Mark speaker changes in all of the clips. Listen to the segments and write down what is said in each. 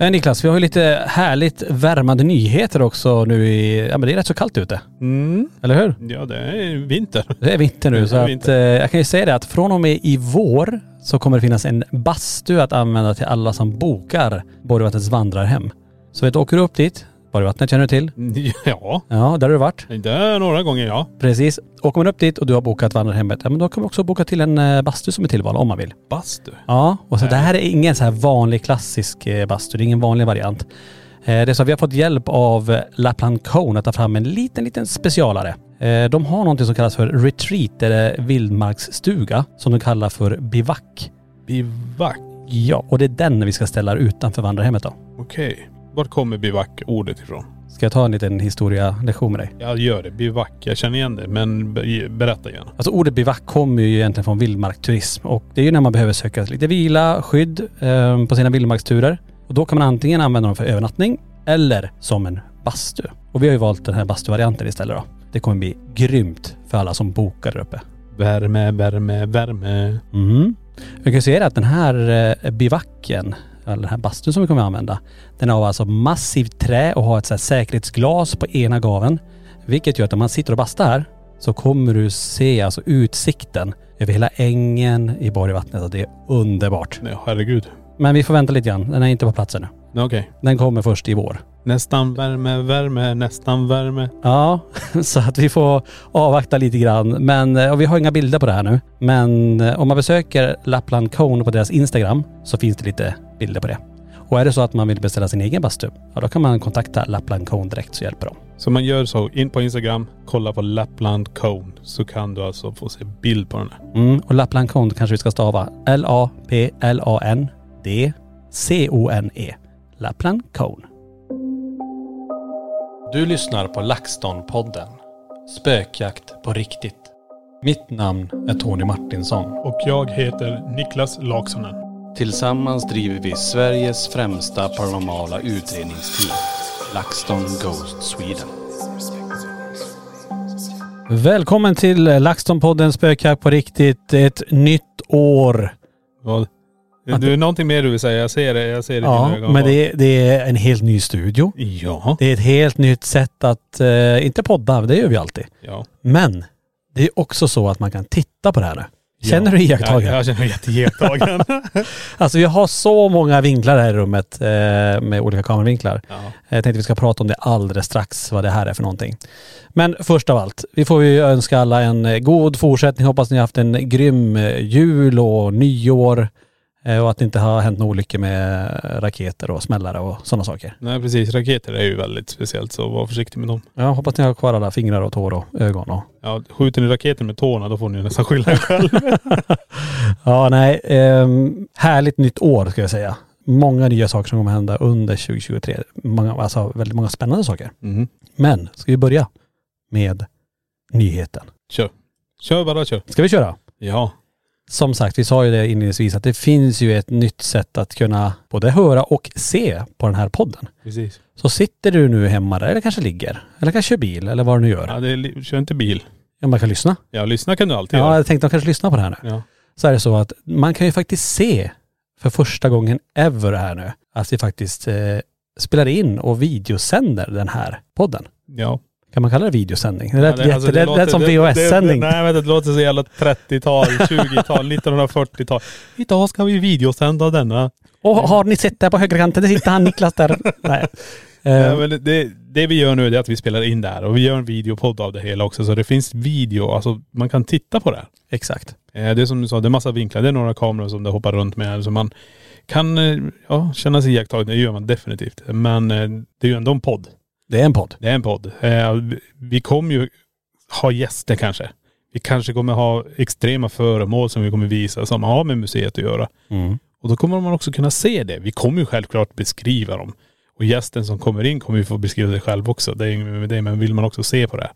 Speaker 1: Eh, Niklas, vi har ju lite härligt värmande nyheter också nu i... Ja men det är rätt så kallt ute.
Speaker 2: Mm.
Speaker 1: Eller hur?
Speaker 2: Ja, det är vinter.
Speaker 1: Det är vinter
Speaker 2: Det
Speaker 1: nu
Speaker 2: är
Speaker 1: så att, eh,
Speaker 2: vinter.
Speaker 1: jag kan ju säga det att från och med i vår så kommer det finnas en bastu att använda till alla som bokar Borgvattnets vandrarhem. Så vet du, åker du upp dit, Borgvattnet känner du till?
Speaker 2: Ja,
Speaker 1: Ja, där har du varit.
Speaker 2: det är några gånger ja.
Speaker 1: Precis. Åker man upp dit och du har bokat vandrarhemmet, ja men då kan man också boka till en eh, bastu som är tillval om man vill.
Speaker 2: Bastu.
Speaker 1: Ja, och så det här är ingen så här vanlig klassisk eh, bastu. Det är ingen vanlig variant. Eh, Det är så att vi har fått hjälp av eh, Lapland Cone att ta fram en liten, liten specialare. Eh, De har någonting som kallas för retreat eller vildmarksstuga som de kallar för bivack.
Speaker 2: Bivack.
Speaker 1: Ja, och det är den vi ska ställa utanför vandrarhemmet då.
Speaker 2: Okej. Vart kommer bivack-ordet ifrån?
Speaker 1: Ska jag ta en liten historialektion med dig?
Speaker 2: Jag gör det. Bivack. Jag känner igen det. Men be- berätta gärna.
Speaker 1: Alltså ordet bivack kommer ju egentligen från vildmarksturism och det är ju när man behöver söka lite vila, skydd eh, på sina vildmarksturer. Och då kan man antingen använda dem för övernattning eller som en bastu. Och vi har ju valt den här bastuvarianten istället då. Det kommer bli grymt för alla som bokar där uppe.
Speaker 2: Värme, värme, värme.
Speaker 1: Mm. Vi kan se att den här eh, bivacken, eller den här bastun som vi kommer att använda, den har alltså massivt trä och har ett så här säkerhetsglas på ena gaven. Vilket gör att om man sitter och bastar här så kommer du se alltså utsikten över hela ängen i Borgvattnet och det är underbart.
Speaker 2: Nej, herregud.
Speaker 1: Men vi får vänta lite grann, den är inte på plats ännu.
Speaker 2: Nej, Okej.
Speaker 1: Den kommer först i vår.
Speaker 2: Nästan värme, värme, nästan värme.
Speaker 1: Ja, så att vi får avvakta lite grann. Men, eh, och vi har inga bilder på det här nu. Men eh, om man besöker Lapland Cone på deras Instagram så finns det lite bilder på det. Och är det så att man vill beställa sin egen bastu, ja då kan man kontakta Lapland Cone direkt så hjälper de.
Speaker 2: Så man gör så. In på Instagram, kolla på Lapland Cone. Så kan du alltså få se bild på den här.
Speaker 1: Mm, och Lapland Cone kanske vi ska stava L-A-P-L-A-N-D-C-O-N-E. Lapland Cone. Du lyssnar på LaxTon-podden. Spökjakt på riktigt. Mitt namn är Tony Martinsson.
Speaker 2: Och jag heter Niklas Laksonen.
Speaker 3: Tillsammans driver vi Sveriges främsta paranormala utredningsteam, LaxTon Ghost Sweden.
Speaker 1: Välkommen till LaxTon-podden Spökjakt på riktigt. Ett nytt år.
Speaker 2: Vad? Du, någonting mer du vill säga? Jag ser det. Jag ser det i
Speaker 1: Ja,
Speaker 2: dina ögon.
Speaker 1: men det, det är en helt ny studio.
Speaker 2: Ja.
Speaker 1: Det är ett helt nytt sätt att, eh, inte podda, det gör vi alltid.
Speaker 2: Ja.
Speaker 1: Men det är också så att man kan titta på det här nu. Känner du
Speaker 2: Ja,
Speaker 1: iakttagelsen?
Speaker 2: jag känner mig jätteiakttagen.
Speaker 1: Alltså vi har så många vinklar här i rummet eh, med olika kameravinklar.
Speaker 2: ja.
Speaker 1: Jag tänkte vi ska prata om det alldeles strax, vad det här är för någonting. Men först av allt, vi får ju önska alla en eh, god fortsättning. Hoppas ni har haft en grym eh, jul och nyår. eh, Och att det inte har hänt några olyckor med eh, raketer och smällare och sådana saker.
Speaker 2: Nej precis, raketer är ju väldigt speciellt så var försiktig med dem.
Speaker 1: Jag hoppas ni har kvar alla fingrar och tår och ögon och
Speaker 2: Ja, skjuter ni raketer med tårna då får ni nästan skylla er själv.
Speaker 1: Ja, nej. ehm, härligt nytt år ska jag säga. många nya saker som kommer hända under 2023. Många, alltså väldigt många spännande saker.
Speaker 2: Mhm.
Speaker 1: Men ska vi börja med nyheten?
Speaker 2: Kör. Kör bara kör.
Speaker 1: Ska vi köra?
Speaker 2: Ja.
Speaker 1: Som sagt, vi sa ju det inledningsvis att det finns ju ett nytt sätt att kunna både höra och se på den här podden.
Speaker 2: Precis.
Speaker 1: Så sitter du nu hemma där, eller kanske ligger, eller kanske kör bil, eller vad du nu gör.
Speaker 2: Ja, det är, li- kör inte bil.
Speaker 1: Ja, man kan lyssna.
Speaker 2: Ja, lyssna kan du alltid
Speaker 1: Ja,
Speaker 2: göra.
Speaker 1: jag tänkte att de kanske lyssnar på det här nu.
Speaker 2: Ja.
Speaker 1: Så är det så att man kan ju faktiskt se för första gången ever här nu att vi faktiskt eh, spelar in och videosänder den här podden.
Speaker 2: ja.
Speaker 1: Kan man kalla det videosändning? Det lät,
Speaker 2: Ja, det- alltså,
Speaker 1: jätte, det, lät- lät som
Speaker 2: det- det-
Speaker 1: VHS-sändning.
Speaker 2: det- Nej men det låter så jävla 30-tal, 20-tal, 1940-tal. Idag ska vi videosända denna.
Speaker 1: Och har ni sett där på högerkanten, där sitter han Niklas där. nej.
Speaker 2: Nej,
Speaker 1: Eh,
Speaker 2: men det- det, det vi gör nu det är att vi spelar in där och vi gör en videopodd av det hela också. Så det finns video, alltså man kan titta på det. här.
Speaker 1: exakt.
Speaker 2: Eh, Det är som du sa, det är massa vinklar. Det är några kameror som det hoppar runt med här. Så man kan eh, ja, känna sig iakttagen. Det gör man definitivt. Men eh, det är ju ändå en podd.
Speaker 1: Det är en podd.
Speaker 2: Det är en podd. Eh, vi- Vi kommer ju ha gäster kanske. Vi kanske kommer ha extrema föremål som vi kommer visa som har med museet att göra. Och då kommer man också kunna se det. Vi kommer ju självklart beskriva dem. Och gästen som kommer in kommer ju få beskriva sig själv också. Det är inget med det, men vill man också se på det här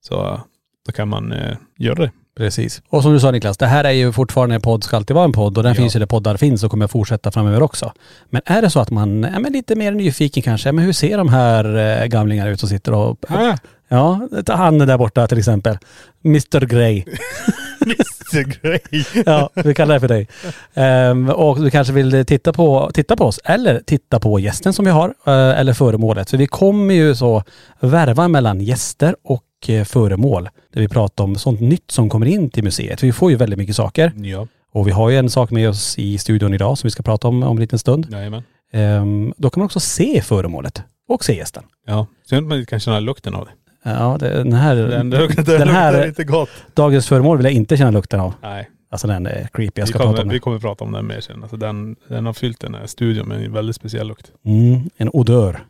Speaker 2: så eh, då kan man eh, göra det.
Speaker 1: Precis. Och som du sa Niklas, det här är ju fortfarande en podd, ska alltid vara en podd och den
Speaker 2: Ja.
Speaker 1: finns ju där poddar finns och kommer fortsätta framöver också. Men är det så att man är men lite mer nyfiken kanske, ja, men hur ser de här eh, gamlingarna ut som sitter och...
Speaker 2: Ah!
Speaker 1: Ja, ta han där borta till exempel. Mr Grey.
Speaker 2: Mr Grey.
Speaker 1: Ja, vi kallar det för dig. Ehm, och du kanske vill titta på, titta på oss eller titta på gästen som vi har eh, eller föremålet. För vi kommer ju så värva mellan gäster och eh, föremål. Där vi pratar om sånt nytt som kommer in till museet. Vi får ju väldigt mycket saker.
Speaker 2: Ja,
Speaker 1: Och vi har ju en sak med oss i studion idag som vi ska prata om om en liten stund.
Speaker 2: jajamän.
Speaker 1: Ehm, då kan man också se föremålet och se gästen.
Speaker 2: Ja, synd att man inte kan känna lukten av det. Mm.
Speaker 1: Ja, det, den här, den,
Speaker 2: lukten
Speaker 1: här
Speaker 2: luktar inte gott.
Speaker 1: dagens föremål vill jag inte känna lukten av.
Speaker 2: Nej,
Speaker 1: Alltså den är creepy. Jag
Speaker 2: vi
Speaker 1: ska prata
Speaker 2: kommer,
Speaker 1: om
Speaker 2: vi
Speaker 1: den.
Speaker 2: kommer prata om den mer sen. Alltså den, den har fyllt den här studion med en väldigt speciell lukt.
Speaker 1: Mm, en odör.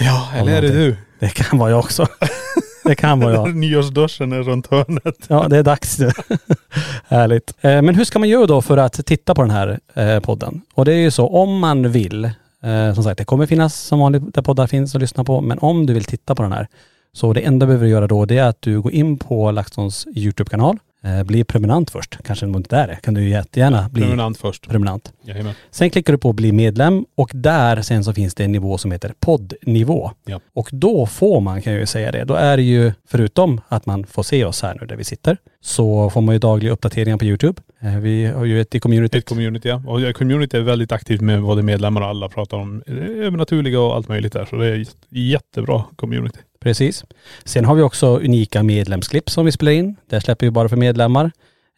Speaker 2: Ja,
Speaker 1: eller är det
Speaker 2: du?
Speaker 1: Det kan vara jag också. Det kan vara jag.
Speaker 2: Nyårsduschen är runt hörnet.
Speaker 1: Ja, det är dags nu. Härligt. Eh, Men hur ska man göra då för att titta på den här eh, podden? Och det är ju så, om man vill, eh, som sagt, det kommer finnas som vanligt där poddar finns att lyssna på, men om du vill titta på den här, så det enda du behöver göra då, det är att du går in på LaxTons YouTube-kanal, eh, bli prenumerant först, kanske om du inte är det, kan du ju jättegärna bli
Speaker 2: Prenumerant först.
Speaker 1: prenumerant.
Speaker 2: Jajamän.
Speaker 1: Sen klickar du på bli medlem och där sen så finns det en nivå som heter poddnivå.
Speaker 2: Ja.
Speaker 1: Och då får man, kan jag ju säga det, då är det ju förutom att man får se oss här nu där vi sitter, så får man ju dagliga uppdateringar på YouTube. Eh, Vi har ju ett i communityt.
Speaker 2: Ett community ja. Och eh, community är väldigt aktivt med både medlemmar och alla pratar om eh, övernaturliga och allt möjligt där. Så det är ett jättebra community.
Speaker 1: Precis. Sen har vi också unika medlemsklipp som vi spelar in. Där släpper vi bara för medlemmar.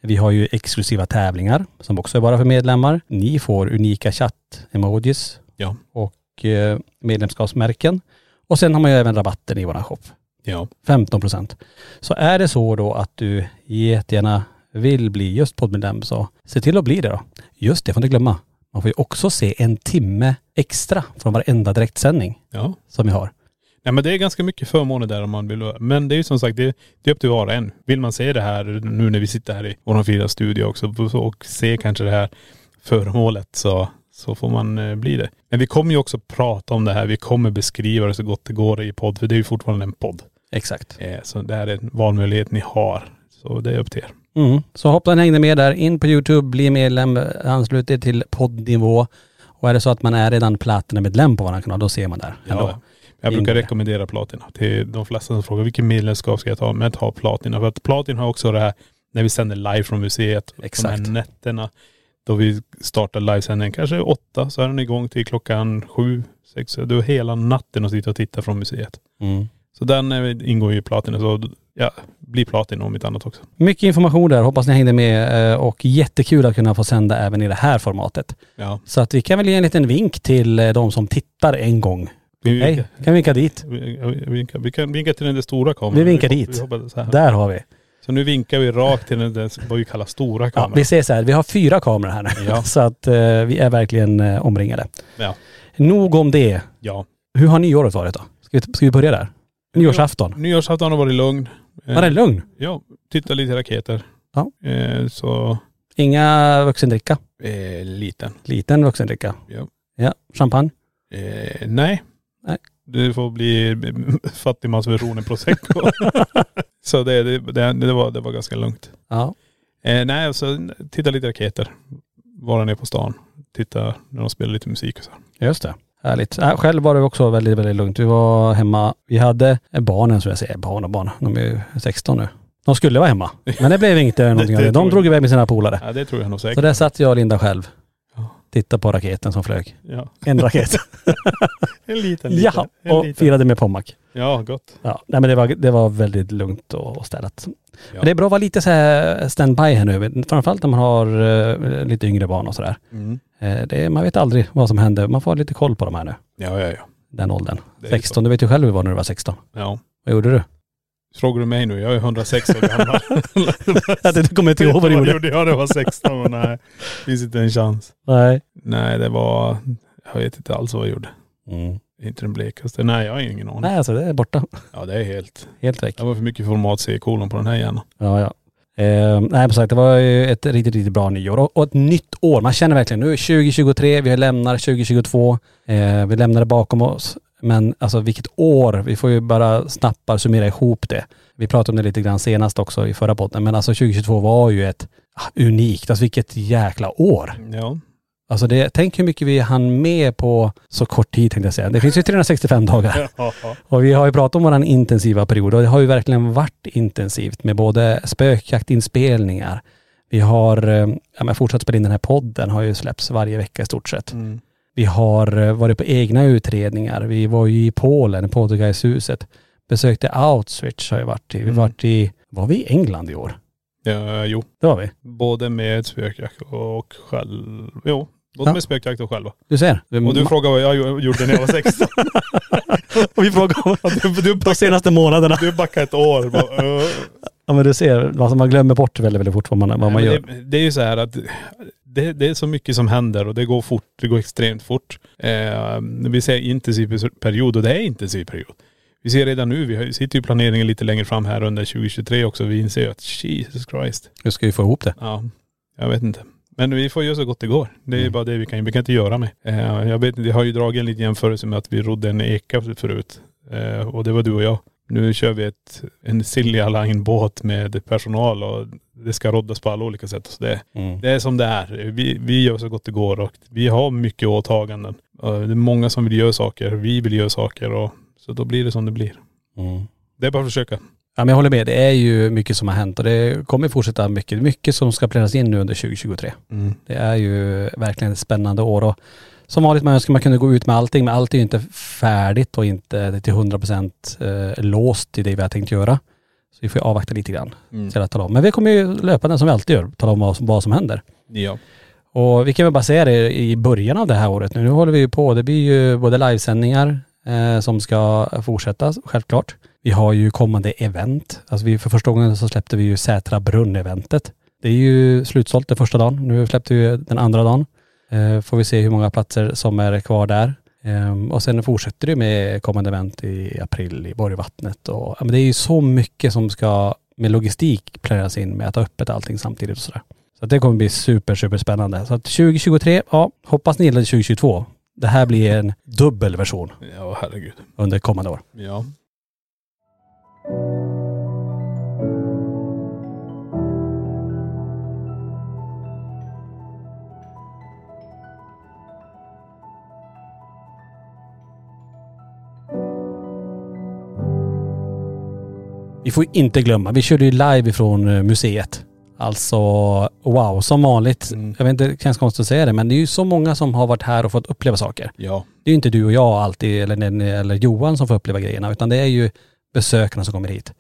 Speaker 1: Vi har ju exklusiva tävlingar som också är bara för medlemmar. Ni får unika chatt-emojis
Speaker 2: Ja.
Speaker 1: och eh, medlemskapsmärken. Och sen har man ju även rabatten i våran shop.
Speaker 2: Ja.
Speaker 1: 15 procent. Så är det så då att du jättegärna vill bli just poddmedlem så se till att bli det då. Just det, får inte glömma. Man får ju också se en timme extra från varenda direktsändning
Speaker 2: Ja.
Speaker 1: som vi har.
Speaker 2: Nej men det är ganska mycket förmåner där om man vill. Men det är ju som sagt, det, det är upp till var och en. Vill man se det här nu när vi sitter här i vår fina studio också och se kanske det här föremålet så, så får man eh, bli det. Men vi kommer ju också prata om det här. Vi kommer beskriva det så gott det går i podd. För det är ju fortfarande en podd.
Speaker 1: Exakt.
Speaker 2: Eh, Så det här är en valmöjlighet ni har. Så det är upp till er.
Speaker 1: Mm. Så hoppas ni hängde med där. In på Youtube, bli medlem, anslut er till poddnivå. Och är det så att man är redan platinamedlem på vår kanal, då ser man där.
Speaker 2: Ja.
Speaker 1: ändå.
Speaker 2: Jag brukar
Speaker 1: Ingre.
Speaker 2: rekommendera platina till de flesta som frågar vilken medlemskap ska jag ta? Men ta platina. För att platina har också det här när vi sänder live från museet.
Speaker 1: Exakt.
Speaker 2: De här nätterna då vi startar livesändningen kanske åtta så är den igång till klockan sju, sex. Du är hela natten och sitter och tittar från museet.
Speaker 1: Mm.
Speaker 2: Så den eh, ingår ju i platina. Så ja, bli platina om inte annat också.
Speaker 1: Mycket information där. Hoppas ni hängde med eh, och jättekul att kunna få sända även i det här formatet.
Speaker 2: Ja.
Speaker 1: Så att vi kan väl ge en liten vink till eh, de som tittar en gång.
Speaker 2: Vi
Speaker 1: Hej,
Speaker 2: vinkar,
Speaker 1: kan vi vinka dit?
Speaker 2: vi, vi, vinkar, vi kan vinka till den där stora kameran.
Speaker 1: Vi vinkar
Speaker 2: Vi-
Speaker 1: dit.
Speaker 2: Vi hoppar så, här.
Speaker 1: Där har vi.
Speaker 2: så nu vinkar vi rakt till den där, vad vi kallar stora
Speaker 1: Ja,
Speaker 2: kameran.
Speaker 1: vi ser så här, vi har fyra kameror här nu.
Speaker 2: Ja.
Speaker 1: Så att eh, vi är verkligen eh, omringade.
Speaker 2: Ja.
Speaker 1: Nog om det.
Speaker 2: ja.
Speaker 1: Hur har nyåret varit då? Ska vi, ska vi börja där? Nyårsafton.
Speaker 2: Nyårsafton har varit lugn. Eh,
Speaker 1: Var det lugn?
Speaker 2: Ja, titta lite raketer.
Speaker 1: Ja.
Speaker 2: Eh, så
Speaker 1: Inga vuxendricka?
Speaker 2: eh, liten.
Speaker 1: Liten vuxendricka?
Speaker 2: Ja.
Speaker 1: Ja, champagne.
Speaker 2: Eh, nej.
Speaker 1: Nej.
Speaker 2: Det får bli fattigmansversionen prosecco. så det, det, det, det, var, det var ganska lugnt.
Speaker 1: Ja.
Speaker 2: Eh, nej, och så titta lite raketer. Vara nere på stan. Titta när de spelar lite musik och så.
Speaker 1: Just det. Härligt. Äh, själv var det också väldigt, väldigt lugnt. Vi var hemma. Vi hade barnen, som jag säger, barn och barn. De är ju 16 nu. De skulle vara hemma. Men det blev inte någonting av
Speaker 2: det
Speaker 1: det. De
Speaker 2: tror
Speaker 1: drog
Speaker 2: jag.
Speaker 1: iväg med sina polare.
Speaker 2: Ja, det tror jag nog
Speaker 1: Så
Speaker 2: säkert.
Speaker 1: där satt jag och Linda själv.
Speaker 2: Ja.
Speaker 1: Tittade på raketen som flög.
Speaker 2: Ja.
Speaker 1: En raket.
Speaker 2: En liten, liten.
Speaker 1: ja,
Speaker 2: En
Speaker 1: och
Speaker 2: liten.
Speaker 1: firade med pommac.
Speaker 2: Ja, gott.
Speaker 1: Ja, nej men det var, det var väldigt lugnt och, och städat.
Speaker 2: Ja.
Speaker 1: Men det är bra att vara lite så här standby här nu. Framförallt när man har eh, lite yngre barn och sådär. Eh, det, är- man vet aldrig vad som händer. Man får ha lite koll på de här nu.
Speaker 2: Ja, ja, ja.
Speaker 1: Den åldern.
Speaker 2: Det är
Speaker 1: 16, du vet ju själv hur det var när du var 16.
Speaker 2: ja.
Speaker 1: Vad gjorde du?
Speaker 2: Frågar du mig nu? Jag är 106 år gammal.
Speaker 1: Att du kommer inte ihåg vad du gjorde.
Speaker 2: Jag det var 16 och nej. Finns inte en chans.
Speaker 1: Nej.
Speaker 2: Nej, det var.. Jag vet inte alls vad jag gjorde.
Speaker 1: Mm.
Speaker 2: Inte den blekaste. Nej, jag har ingen aning.
Speaker 1: Nej alltså det är borta.
Speaker 2: Ja, det är helt..
Speaker 1: Helt väck.
Speaker 2: Det var för mycket format C-kolon på den här hjärnan.
Speaker 1: Ja, ja. Eh, nej, som sagt, det var ju ett riktigt, riktigt bra nyår och, och ett nytt år. Man känner verkligen nu är 2023, vi lämnar 2022, eh, vi lämnar det bakom oss. Men alltså vilket år, vi får ju bara snappar summera ihop det. Vi pratade om det lite grann senast också i förra podden, men alltså 2022 var ju ett ah, unikt, alltså vilket jäkla år.
Speaker 2: Ja.
Speaker 1: Alltså det, tänk hur mycket vi hann med på så kort tid tänkte jag säga. Det finns ju 365 dagar. Och vi har ju pratat om våran intensiva period och det har ju verkligen varit intensivt med både spökjaktinspelningar, vi har eh, ja, men fortsatt spela in den här podden, har ju släppts varje vecka i stort sett.
Speaker 2: Mm.
Speaker 1: Vi har eh, varit på egna utredningar, vi var ju i Polen, i Poltergeisthuset, besökte Auschwitz har jag varit i, vi
Speaker 2: Mm.
Speaker 1: varit i, var vi i England i år?
Speaker 2: ja, jo.
Speaker 1: Det var vi.
Speaker 2: Både med spökjakt och själv. Jo.
Speaker 1: Ja.
Speaker 2: Både
Speaker 1: Mm.
Speaker 2: med spökjakt och själva.
Speaker 1: Du ser.
Speaker 2: Och du frågar vad jag gjo- gjorde när jag var 16.
Speaker 1: och vi frågar om
Speaker 2: du, du,
Speaker 1: de senaste månaderna.
Speaker 2: du backar ett år. Bara, "Åh."
Speaker 1: Ja men du ser, alltså man glömmer bort väldigt, väldigt fort vad man, vad man
Speaker 2: Nej, men
Speaker 1: gör.
Speaker 2: Det, det är ju så här att det, det är så mycket som händer och det går fort. Det går extremt fort. Eh, vi ser intensiv period och det är intensiv period. Vi ser redan nu, vi har- sitter ju i planeringen lite längre fram här under 2023 också. Vi inser ju att Jesus Christ.
Speaker 1: Du ska ju få ihop det.
Speaker 2: Ja, jag vet inte. Men vi får göra så gott det går. Det är ju bara det vi kan Vi kan inte göra med. Eh, jag vet inte, jag har ju dragit en liten jämförelse med att vi rodde en eka förut. Eh, och det var du och jag. Nu kör vi ett, en Silja Line-båt med personal och det ska roddas på alla olika sätt. Så det,
Speaker 1: Mm.
Speaker 2: det är som det är. Vi, vi gör så gott det går och vi har mycket åtaganden. Eh, det är många som vill göra saker. Vi vill göra saker och så då blir det som det blir.
Speaker 1: Mm.
Speaker 2: Det är bara att försöka.
Speaker 1: Ja, men jag håller med. Det är ju mycket som har hänt och det kommer fortsätta mycket. Mycket som ska planeras in nu under 2023.
Speaker 2: Mm.
Speaker 1: Det är ju verkligen ett spännande år och som vanligt man önskar man kunde gå ut med allting men allt är ju inte färdigt och inte till 100% eh, låst i det vi har tänkt göra. Så vi får ju avvakta lite grann
Speaker 2: Mm.
Speaker 1: till att tala om. Men vi kommer ju löpande som vi alltid gör tala om vad som, vad som händer.
Speaker 2: Ja.
Speaker 1: Och vi kan väl bara säga det i början av det här året nu. Nu håller vi ju på. Det blir ju både livesändningar eh, som ska fortsätta självklart. Vi har ju kommande event. Alltså vi, för första gången så släppte vi ju Sätra brunn-eventet. Det är ju slutsålt den första dagen. Nu släppte vi den andra dagen. Eh, får vi se hur många platser som är kvar där. Ehm, och sen fortsätter det med kommande event i april i Borgvattnet. Och, ja, men det är ju så mycket som ska med logistik planeras in med att ha öppet allting samtidigt och sådär. Så att det kommer bli super, super spännande. Så att 2023, ja, hoppas ni gillade 2022. Det här blir en dubbel version
Speaker 2: Ja, herregud.
Speaker 1: under kommande år.
Speaker 2: Ja.
Speaker 1: Vi får ju inte glömma, vi körde ju live ifrån eh, museet. Alltså wow, som vanligt.
Speaker 2: Mm.
Speaker 1: Jag vet inte, det känns konstigt att säga det men det är ju så många som har varit här och fått uppleva saker.
Speaker 2: Ja.
Speaker 1: Det är ju inte du och jag alltid eller, eller, eller Johan som får uppleva grejerna utan det är ju besökarna som kommer hit.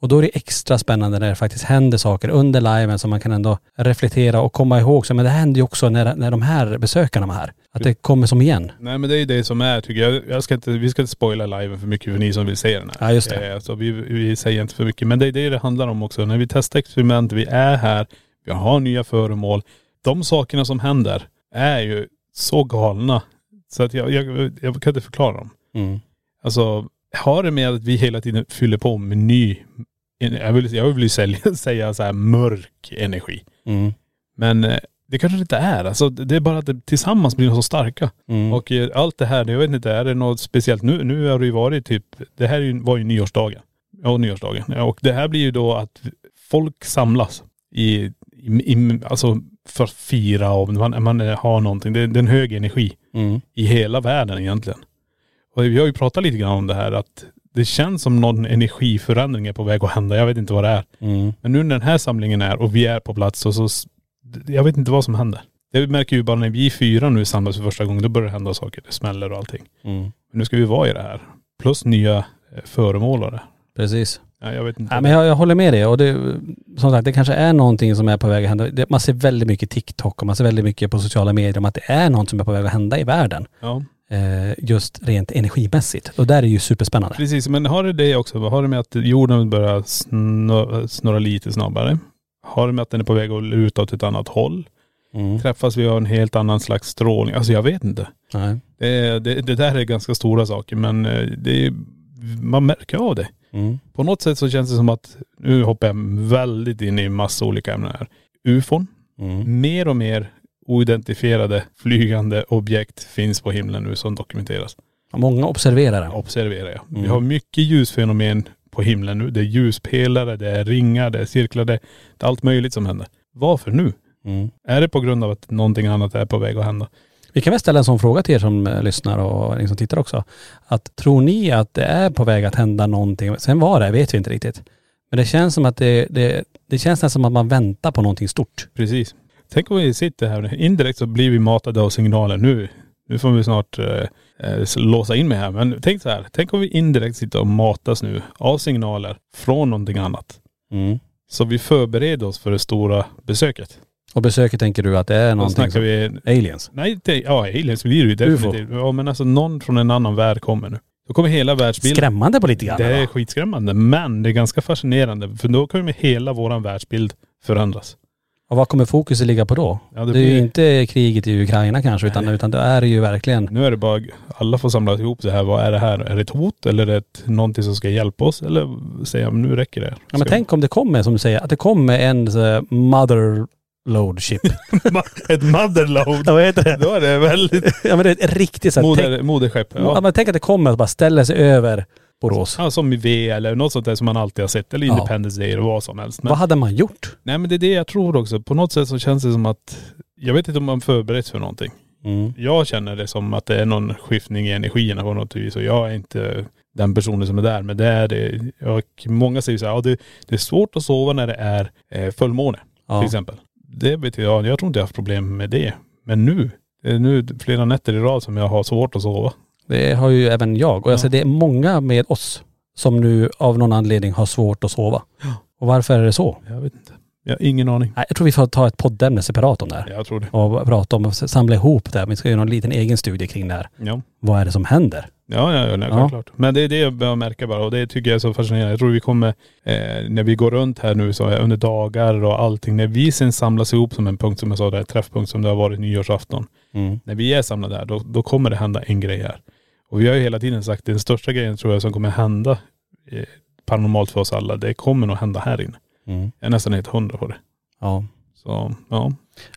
Speaker 1: Och då är det extra spännande när det faktiskt händer saker under liven som man kan ändå reflektera och komma ihåg. Så, men det hände ju också när, när de här besökarna var här. Att det kommer som igen.
Speaker 2: Nej men det är ju det som är tycker jag. jag ska inte, vi ska inte spoila liven för mycket för ni som vill se den här.
Speaker 1: Ja, just det.
Speaker 2: Eh, Så vi, vi säger inte för mycket. Men det är det det handlar om också. När vi testar experiment, vi är här, vi har nya föremål. De sakerna som händer är ju så galna. Så att jag, jag, jag kan inte förklara dem.
Speaker 1: Mm.
Speaker 2: Alltså har det med att vi hela tiden fyller på med ny, en- jag vill, jag vill ju sälja, säga så här mörk energi.
Speaker 1: Mm.
Speaker 2: Men eh, Det kanske det inte är. Alltså, det är bara att det, tillsammans blir de så starka.
Speaker 1: Mm.
Speaker 2: Och eh, allt det här, jag vet inte, är det något speciellt nu? Nu har det ju varit typ, det här är ju- var ju nyårsdagen. Ja, nyårsdagen. Ja, Och det här blir ju då att folk samlas i, i, i alltså för att fira och man, man eh, har någonting. Det, det är en hög energi
Speaker 1: Mm.
Speaker 2: i hela världen egentligen. Och vi har ju pratat lite grann om det här att det känns som någon energiförändring är på väg att hända. Jag vet inte vad det är.
Speaker 1: Mm.
Speaker 2: Men nu när den här samlingen är och vi är på plats och så, s- jag vet inte vad som händer. Det märker ju bara när vi fyra nu samlas för första gången, då börjar det hända saker. Det smäller och allting.
Speaker 1: Mm.
Speaker 2: Men nu ska vi vara i det här. Plus nya eh, föremål och det.
Speaker 1: Precis.
Speaker 2: Ja, jag vet inte.
Speaker 1: Ja, men jag, jag håller med dig och det, som sagt det kanske är någonting som är på väg att hända. Det, man ser väldigt mycket TikTok och man ser väldigt mycket på sociala medier om att det är något som är på väg att hända i världen.
Speaker 2: ja.
Speaker 1: Eh, just rent energimässigt. Och där är det ju superspännande.
Speaker 2: Precis, men har det det också? Har det med att jorden börjar snurra, snurra lite snabbare? Har det med att den är på väg att luta åt ett annat håll?
Speaker 1: Mm.
Speaker 2: Träffas vi av en helt annan slags strålning? Alltså jag vet inte.
Speaker 1: Nej.
Speaker 2: Det, är- det, det där är ganska stora saker men eh, det, är- man märker av det.
Speaker 1: Mm.
Speaker 2: På något sätt så känns det som att, nu hoppar jag väldigt in i massa olika ämnen här. Ufon,
Speaker 1: Mm.
Speaker 2: mer och mer oidentifierade flygande objekt finns på himlen nu som dokumenteras.
Speaker 1: Många observerar det.
Speaker 2: Observerar jag. Vi
Speaker 1: Mm.
Speaker 2: har mycket ljusfenomen på himlen nu. Det är ljuspelare, det är ringar, det är cirklar, det det är allt möjligt som händer. Varför nu?
Speaker 1: Mm.
Speaker 2: Är det på grund av att någonting annat är på väg att hända?
Speaker 1: Vi kan väl ställa en sån fråga till er som eh, lyssnar och ni som tittar också. Att tror ni att det är på väg att hända någonting? Sen var det vet vi inte riktigt. Men det känns som att det, det, det känns nästan som att man väntar på någonting stort.
Speaker 2: Precis. Tänk om vi sitter här nu. Indirekt så blir vi matade av signaler nu. Nu får vi snart eh, eh, låsa in mig här. Men tänk så här. Tänk om vi indirekt sitter och matas nu av signaler från någonting annat. Så vi förbereder oss för det stora besöket.
Speaker 1: Och besöket tänker du att det är
Speaker 2: Då
Speaker 1: någonting
Speaker 2: snackar
Speaker 1: som...
Speaker 2: vi..
Speaker 1: Aliens.
Speaker 2: Nej, inte, ja aliens blir det ju definitivt. Ja men alltså någon från en annan värld kommer nu. Då kommer hela världsbilden.
Speaker 1: Skrämmande på lite grann.
Speaker 2: Det är
Speaker 1: va?
Speaker 2: skitskrämmande. Men det är ganska fascinerande. För då kommer hela våran världsbild förändras.
Speaker 1: Och vad kommer fokuset ligga på då?
Speaker 2: Ja,
Speaker 1: det,
Speaker 2: det
Speaker 1: är ju
Speaker 2: blir-
Speaker 1: inte kriget i Ukraina kanske utan,
Speaker 2: Nej.
Speaker 1: utan det är ju verkligen..
Speaker 2: Nu är det bara, alla får samlas ihop det här. Vad är det här? Är det ett hot eller är det ett, någonting som ska hjälpa oss? Eller säga, men nu räcker det.
Speaker 1: Ja, men
Speaker 2: Ska-
Speaker 1: tänk om det kommer som du säger, att det kommer en så här motherload ship.
Speaker 2: ett motherload.
Speaker 1: Ja, vad heter det?
Speaker 2: Då är det väldigt..
Speaker 1: ja men det är ett riktigt så här,
Speaker 2: Moder, moderskepp.
Speaker 1: tänk, ja.
Speaker 2: Ja.
Speaker 1: men tänk att det kommer och bara ställer sig över Borås.
Speaker 2: Ja, som i V eller något sånt där som man alltid har sett. Eller
Speaker 1: Ja.
Speaker 2: Independence Day eller vad som helst. Men,
Speaker 1: Vad hade man gjort?
Speaker 2: nej men det är det jag tror också. På något sätt så känns det som att.. Jag vet inte om man förbereds för någonting. Jag känner det som att det är någon skiftning i energierna på något vis och jag är inte den personen som är där. Men det är det. Och många säger så här, ja, det, det är svårt att sova när det är eh, fullmåne
Speaker 1: Ja.
Speaker 2: till exempel. Det vet jag, jag tror inte jag har haft problem med det. Men nu, det är nu flera nätter i rad som jag har svårt att sova.
Speaker 1: Det har ju även jag. Och jag
Speaker 2: Ja.
Speaker 1: ser det är många med oss som nu av någon anledning har svårt att sova. Och varför är det så?
Speaker 2: Jag vet inte. Jag har ingen aning.
Speaker 1: Nej, jag tror vi får ta ett poddämne separat om det här.
Speaker 2: Jag tror det.
Speaker 1: Och prata om, och samla ihop det här. Vi ska göra en liten egen studie kring det här.
Speaker 2: Ja.
Speaker 1: Vad är det som händer?
Speaker 2: Ja, ja, ja, nej,
Speaker 1: Ja.
Speaker 2: självklart. Men det är det jag börjar märka bara och det tycker jag är så fascinerande. Jag tror vi kommer, eh, när vi går runt här nu så är under dagar och allting, när vi sen samlas ihop som en punkt som jag sa, där träffpunkt som det har varit nyårsafton. När vi är samlade här, då, då kommer det hända en grej här. Och vi har ju hela tiden sagt, den största grejen tror jag som kommer hända eh, paranormalt för oss alla, det kommer nog hända här inne.
Speaker 1: Mm.
Speaker 2: Jag är nästan helt hundra på det.
Speaker 1: Ja.
Speaker 2: Så ja,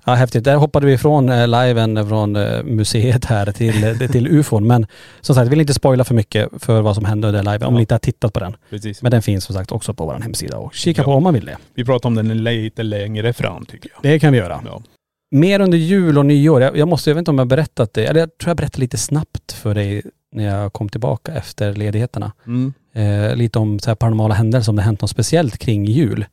Speaker 1: Ja, häftigt. Där hoppade vi ifrån eh, liven från eh, museet här till, eh, till ufon. Men som sagt, vill inte spoila för mycket för vad som hände under liven om
Speaker 2: Ja.
Speaker 1: ni inte har tittat på den.
Speaker 2: precis.
Speaker 1: Men den finns som sagt också på vår hemsida och kika
Speaker 2: Ja.
Speaker 1: på om man vill det.
Speaker 2: Vi pratar om den lite längre fram tycker jag.
Speaker 1: Det kan vi göra.
Speaker 2: Ja.
Speaker 1: Mer under jul och nyår. Jag, jag måste, jag vet inte om jag har berättat det, eller jag tror jag berättade lite snabbt för dig när jag kom tillbaka efter ledigheterna.
Speaker 2: Mm.
Speaker 1: Eh, lite om så här paranormala händelser, om det hänt något speciellt kring jul.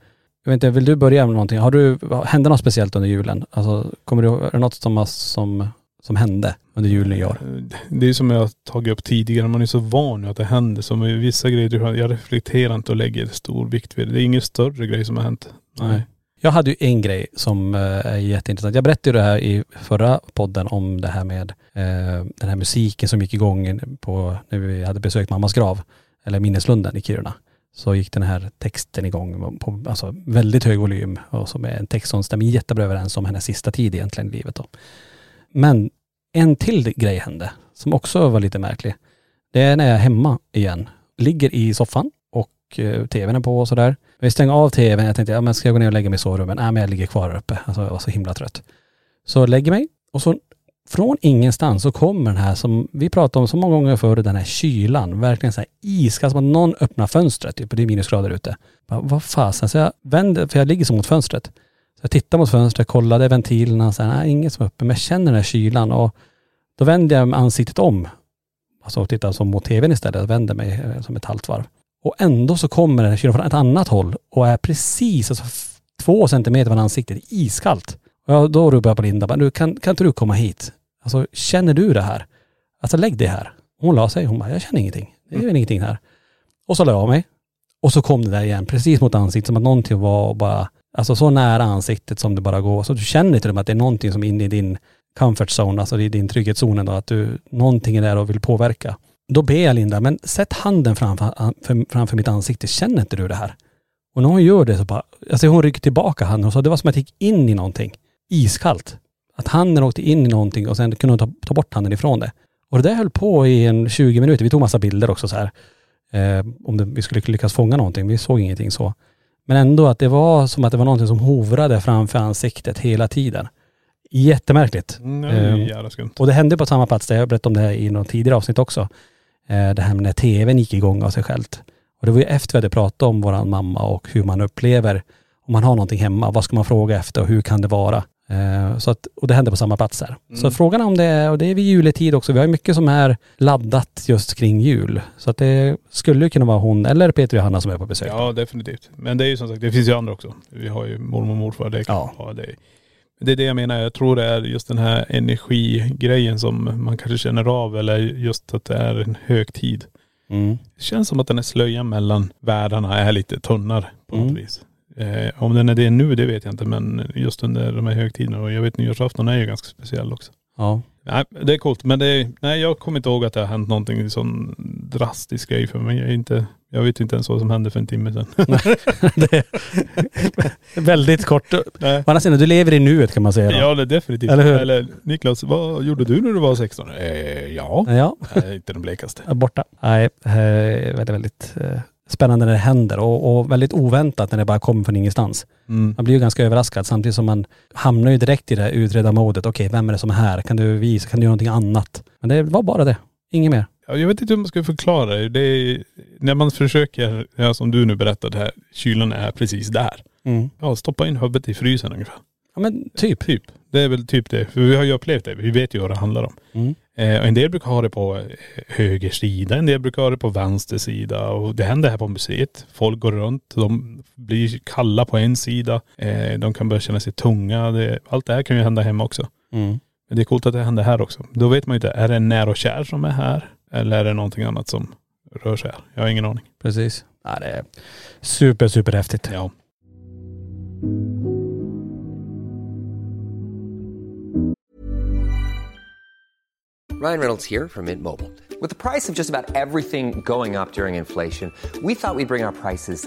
Speaker 1: Jag vet inte, vill du börja med någonting? Har du, hände något speciellt under julen? Alltså, kommer du, är det något som, har- som, som hände under jul och nyår?
Speaker 2: Eh, Det är ju som jag har tagit upp tidigare, man är så van nu att det händer. Som i vissa grejer, jag reflekterar inte och lägger stor vikt vid det. Det är ingen större grej som har hänt.
Speaker 1: Nej. Jag hade ju en grej som eh, är jätteintressant. Jag berättade ju det här i förra podden om det här med eh, den här musiken som gick igång på, när vi hade besökt mammas grav, eller minneslunden i Kiruna. Så gick den här texten igång på alltså, väldigt hög volym och som är en text som stämmer jättebra överens om hennes sista tid egentligen i livet. Då. Men en till grej hände som också var lite märklig. Det är när jag är hemma igen. Ligger i soffan och eh, tvn är på och sådär. Men Vi stänger av tvn. Jag tänkte, ja men ska jag gå ner och lägga mig i sovrummen? Nej men jag ligger kvar här uppe. Alltså jag var så himla trött. Så lägger mig och så från ingenstans så kommer den här som vi pratade om så många gånger förr, den här kylan. Verkligen så här iskall, som att någon öppnar fönstret. Typ, och det är minusgrader ute. Bara, vad fasen, så jag vänder, för jag ligger så mot fönstret. Så jag tittar mot fönstret, kollade ventilerna, så här, nej, inget som är uppe. Men jag känner den här kylan och då vänder jag ansiktet om. Alltså och tittar som mot tvn istället, och vänder mig eh, som ett halvt varv. Och ändå så kommer den här kylan från ett annat håll och är precis alltså, f- två centimeter från ansiktet, iskallt. Och jag, då ropar jag på Linda, bara, du, kan, kan inte du komma hit? Alltså känner du det här? Alltså lägg dig här. Hon la sig, hon bara, jag känner ingenting. Det är väl ingenting här. Och så la jag av mig. Och så kom det där igen, precis mot ansiktet, som att någonting var och bara, alltså så nära ansiktet som det bara går. Så du känner till och med att det är någonting som är inne i din comfort zone, alltså i din trygghetszon ändå, att du, någonting är där och vill påverka. Då ber jag Linda, men sätt handen framför, an- för- framför mitt ansikte, känner inte du det här? Och när hon gör det så bara, alltså hon rycker tillbaka handen och sa, det var som att jag gick in i någonting, iskallt. Att handen åkte in i någonting och sen kunde hon ta, ta bort handen ifrån det. Och det där höll på i en 20 minuter, vi tog massa bilder också så här eh, om det, vi skulle lyckas fånga någonting. Vi såg ingenting så. Men ändå att det var som att det var någonting som hovrade framför ansiktet hela tiden. Jättemärkligt. Ehm,
Speaker 2: Nej, jävla skumt.
Speaker 1: och det hände på samma plats, där jag berättade om det här i något tidigare avsnitt också. Eh, Det här med när tvn gick igång av sig självt. Och det var ju efter vi hade pratat om våran mamma och hur man upplever, om man har någonting hemma, vad ska man fråga efter och hur kan det vara? Eh, Så att, och det hände på samma plats där.
Speaker 2: Mm.
Speaker 1: Så frågan är om det är, och det är vid juletid också, vi har ju mycket som är laddat just kring jul. Så att det skulle ju kunna vara hon eller Peter och Johanna som är på besök.
Speaker 2: Ja, definitivt. Men det är ju som sagt, det finns ju andra också. Vi har ju mormor och morfar. Det,
Speaker 1: Ja.
Speaker 2: ja. Ja, det, är- det är det jag menar. Jag tror det är just den här energigrejen som man kanske känner av eller just att det är en högtid.
Speaker 1: Mm.
Speaker 2: Det känns som att den här slöjan mellan världarna är lite tunnare på något
Speaker 1: Mm.
Speaker 2: vis. Eh, om den är det nu, det vet jag inte. Men just under de här högtiderna. Och jag vet nyårsafton är ju ganska speciell också.
Speaker 1: Ja.
Speaker 2: Nej, det är coolt. Men det är, nej, jag kommer inte ihåg att det har hänt någonting sån drastisk grej för mig. Jag, är inte, jag vet inte ens vad som hände för en timme sedan.
Speaker 1: det är väldigt kort. Å
Speaker 2: nej.
Speaker 1: andra sidan, du lever i nuet kan man säga. då.
Speaker 2: Ja, det är definitivt.
Speaker 1: Eller
Speaker 2: Eller,
Speaker 1: hur?
Speaker 2: Niklas, vad gjorde du när du var 16? Eh, ja.
Speaker 1: ja.
Speaker 2: Nej, inte den blekaste.
Speaker 1: är borta. Nej, eh, väldigt, väldigt eh, spännande när det händer och, och väldigt oväntat när det bara kommer från ingenstans. Man blir ju ganska överraskad samtidigt som man hamnar ju direkt i det här utreda-modet. Okej, vem är det som är här? Kan du visa? Kan du göra någonting annat? Men det var bara det. Inget mer.
Speaker 2: Ja, Jag vet inte hur man ska förklara det. det är, när man försöker, ja, som du nu berättade här, kylan är precis där.
Speaker 1: Mm.
Speaker 2: Ja, stoppa in huvudet i frysen ungefär.
Speaker 1: Ja men typ.
Speaker 2: Typ. Det är väl typ det. För vi har ju upplevt det. Vi vet ju vad det handlar om.
Speaker 1: Mm.
Speaker 2: Eh, och en del brukar ha det på eh, höger sida, en del brukar ha det på vänster sida. Och det händer här på museet. Folk går runt, de blir kalla på en sida. Eh, de kan börja känna sig tunga. Det, allt det här kan ju hända hemma också.
Speaker 1: Mm.
Speaker 2: Men det är coolt att det händer här också. Då vet man ju inte, är det när och kär som är här? Eller är det någonting annat som rör sig här? Jag har ingen aning.
Speaker 1: Precis. Ja, det är super, super häftigt.
Speaker 2: Ja.
Speaker 4: Ryan Reynolds here from Mint Mobile. With the price of just about everything going up during inflation, we thought we'd bring our prices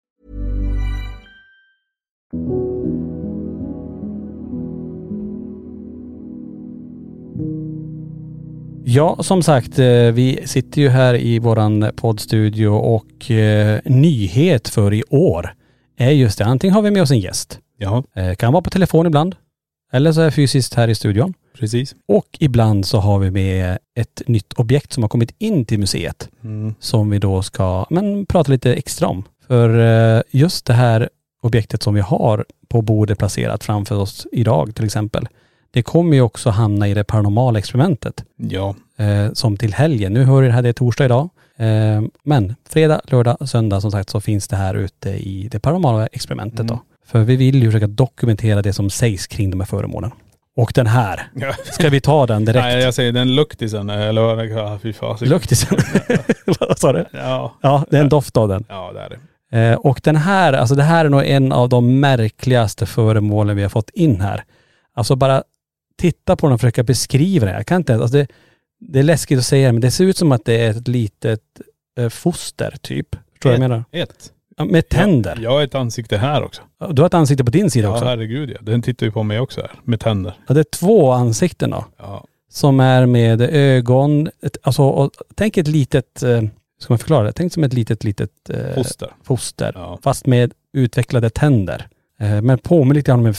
Speaker 1: Ja, som sagt, eh, vi sitter ju här i våran poddstudio och eh, nyhet för i år är just det. Antingen har vi med oss en gäst
Speaker 2: Ja,
Speaker 1: Eh, Kan vara på telefon ibland. Eller så är jag fysiskt här i studion.
Speaker 2: precis.
Speaker 1: Och ibland så har vi med ett nytt objekt som har kommit in till museet.
Speaker 2: Mm.
Speaker 1: Som vi då ska men, prata lite extra om. För eh, just det här objektet som vi har på bordet placerat framför oss idag till exempel. Det kommer ju också hamna i det paranormala experimentet
Speaker 2: Ja.
Speaker 1: eh, som till helgen. Nu hör det här, det är torsdag idag. Eh, Men fredag, lördag, söndag som sagt så finns det här ute i det paranormala experimentet
Speaker 2: Mm.
Speaker 1: då. För vi vill ju försöka dokumentera det som sägs kring de här föremålen. Och den här,
Speaker 2: Ja.
Speaker 1: ska vi ta den direkt?
Speaker 2: Nej jag säger den luktisen eller vad ja, fy fasiken.
Speaker 1: Luktisen. Vad sa du?
Speaker 2: Ja.
Speaker 1: Ja, det är en doft av den.
Speaker 2: ja, det är det.
Speaker 1: Eh, Och den här, alltså det här är nog en av de märkligaste föremålen vi har fått in här. Alltså bara titta på den och försöka beskriva det. Jag kan inte, alltså det, det är läskigt att säga det, men det ser ut som att det är ett litet eh, foster typ. Förstår du
Speaker 2: Eh,
Speaker 1: vad jag menar?
Speaker 2: Ett.
Speaker 1: Ja, Med tänder.
Speaker 2: Jag, jag har ett ansikte här också.
Speaker 1: Du har ett ansikte på din sida
Speaker 2: Ja,
Speaker 1: också.
Speaker 2: herregud ja. Den tittar ju på mig också här. Med tänder.
Speaker 1: Ja, det är två ansikten då.
Speaker 2: Ja.
Speaker 1: Som är med ögon, ett, alltså och, tänk ett litet, eh, hur ska man förklara det? Tänk som ett litet, litet eh,
Speaker 2: Foster.
Speaker 1: foster.
Speaker 2: Ja.
Speaker 1: Fast med utvecklade tänder. Eh, men påminner lite grann om en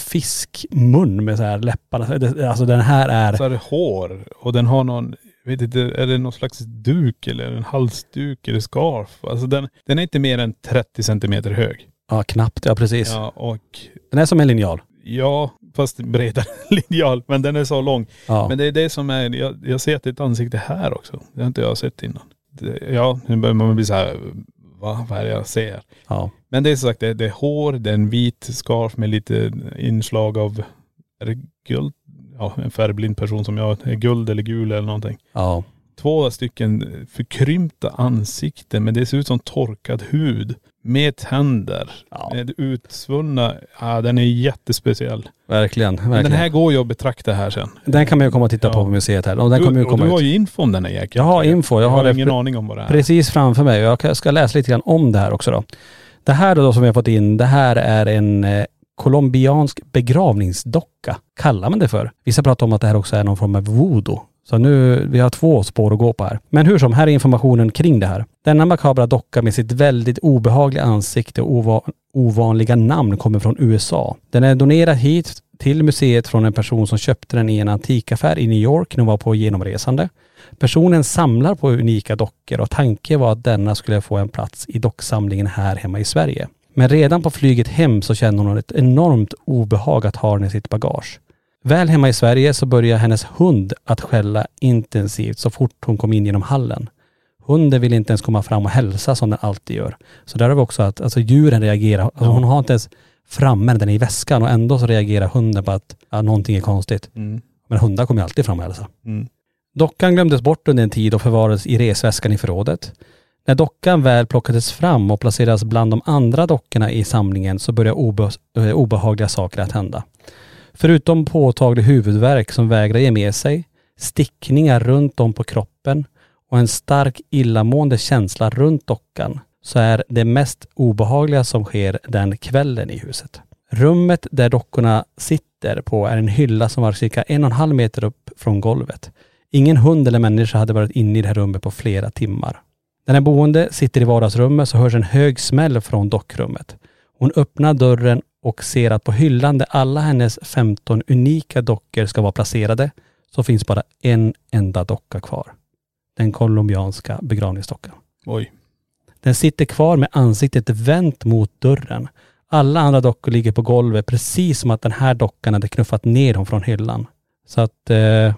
Speaker 1: fiskmun med så här läpparna. Det- Alltså den här är,
Speaker 2: Så är det hår. Och den har någon, jag vet inte, är det någon slags duk eller en halsduk eller scarf? Alltså den, den är inte mer än 30 centimeter hög.
Speaker 1: ja knappt, ja precis.
Speaker 2: Ja och
Speaker 1: Den är som en linjal.
Speaker 2: ja, fast bredare linjal. Men den är så lång.
Speaker 1: Ja.
Speaker 2: Men det är det som är, jag, jag ser att det är ett ansikte här också. Det har inte jag sett innan. Det, ja, nu börjar man bli så här, va, vad är det jag ser?
Speaker 1: ja.
Speaker 2: Men det är som sagt, det, det är hår, det är en vit scarf med lite inslag av, är det guld? Ja, en färgblind person som jag, är guld eller gul eller någonting.
Speaker 1: ja.
Speaker 2: Två stycken förkrympta ansikten, men det ser ut som torkad hud. Med tänder,
Speaker 1: Ja.
Speaker 2: med utsvullna, ja den är jättespeciell.
Speaker 1: Verkligen,
Speaker 2: Men
Speaker 1: verkligen.
Speaker 2: den här går ju att betrakta här sen.
Speaker 1: den kan man ju komma och titta
Speaker 2: Ja.
Speaker 1: på på museet här. Och den
Speaker 2: du,
Speaker 1: kommer ju
Speaker 2: och du
Speaker 1: komma
Speaker 2: har
Speaker 1: ut.
Speaker 2: ju info om den här jäkeln.
Speaker 1: Jag har info, jag
Speaker 2: Jag
Speaker 1: har
Speaker 2: har
Speaker 1: det
Speaker 2: ingen
Speaker 1: pre-
Speaker 2: aning om vad det är.
Speaker 1: precis framför mig. Jag ska läsa lite grann om det här också då. Det här då som vi har fått in, det här är en eh, colombiansk begravningsdocka. Kallar man det för. Vissa pratar om att det här också är någon form av voodoo. Så nu, vi har två spår att gå på här. Men hur som, här är informationen kring det här. Denna makabra docka med sitt väldigt obehagliga ansikte och ova- ovanliga namn kommer från USA. Den är donerad hit till museet från en person som köpte den i en antikaffär i New York när hon var på genomresande. Personen samlar på unika dockor och tanken var att denna skulle få en plats i docksamlingen här hemma i Sverige. Men redan på flyget hem så känner hon ett enormt obehag att ha den i sitt bagage. Väl hemma i Sverige så börjar hennes hund att skälla intensivt så fort hon kom in genom hallen. Hunden vill inte ens komma fram och hälsa som den alltid gör. Så där har vi också att alltså, djuren reagerar. Alltså, Hon har inte ens framme den i väskan och ändå så reagerar hunden på att ja, någonting är konstigt. Men hundar kommer ju alltid fram och hälsa. Dockan glömdes bort under en tid och förvarades i resväskan i förrådet. När dockan väl plockades fram och placerades bland de andra dockorna i samlingen så började obe- eh, obehagliga saker att hända. Förutom påtaglig huvudvärk som vägrar ge med sig, stickningar runt om på kroppen och en stark illamående känsla runt dockan så är det mest obehagliga som sker den kvällen i huset. Rummet där dockorna sitter på är en hylla som var cirka en och en halv meter upp från golvet. Ingen hund eller människa hade varit inne i det här rummet på flera timmar. När den boende sitter i vardagsrummet så hörs en hög smäll från dockrummet. Hon öppnar dörren och ser att på hyllan där alla hennes 15 unika dockor ska vara placerade så finns bara en enda docka kvar. Den colombianska begravningsdockan.
Speaker 2: Oj.
Speaker 1: Den sitter kvar med ansiktet vänt mot dörren. Alla andra dockor ligger på golvet precis som att den här dockan hade knuffat ner dem från hyllan. Så att eh,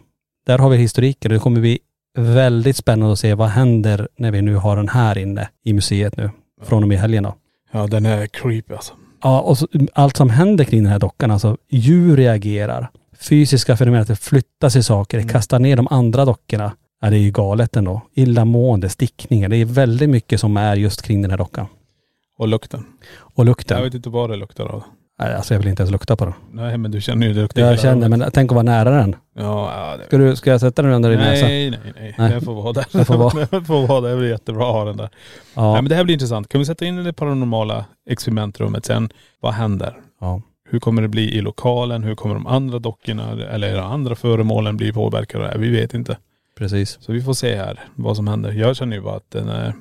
Speaker 1: där har vi historiken och det kommer bli väldigt spännande att se vad händer när vi nu har den här inne i museet nu. Från och med helgen då.
Speaker 2: Ja den är creepy alltså.
Speaker 1: Ja, och så, allt som händer kring den här dockan, alltså djur reagerar. Fysiska fenomen, att det flyttar sig saker, det kastar ner de andra dockorna. Ja, det är ju galet ändå. Illamående, stickningar. Det är väldigt mycket som är just kring den här dockan.
Speaker 2: Och lukten.
Speaker 1: Och
Speaker 2: Jag
Speaker 1: lukten.
Speaker 2: vet inte vad det luktar av.
Speaker 1: Nej, alltså jag vill inte ens lukta på den.
Speaker 2: Nej men du känner ju det luktar
Speaker 1: Jag
Speaker 2: illa.
Speaker 1: känner, men tänk att vara nära den.
Speaker 2: Ja, ja det...
Speaker 1: Ska, du, ska jag sätta den under din näsa?
Speaker 2: Nej, nej, nej.
Speaker 1: Nej.
Speaker 2: Den får vara där.
Speaker 1: Den får vara.
Speaker 2: Den får vara där. Det blir jättebra att ha den där. Nej
Speaker 1: Ja.
Speaker 2: men det här blir intressant. Kan vi sätta in det paranormala experimentrummet sen? Vad händer?
Speaker 1: ja.
Speaker 2: Hur kommer det bli i lokalen? Hur kommer de andra dockorna eller de andra föremålen bli påverkade? av det här? Vi vet inte.
Speaker 1: Precis.
Speaker 2: Så vi får se här vad som händer. Jag känner ju bara att den är,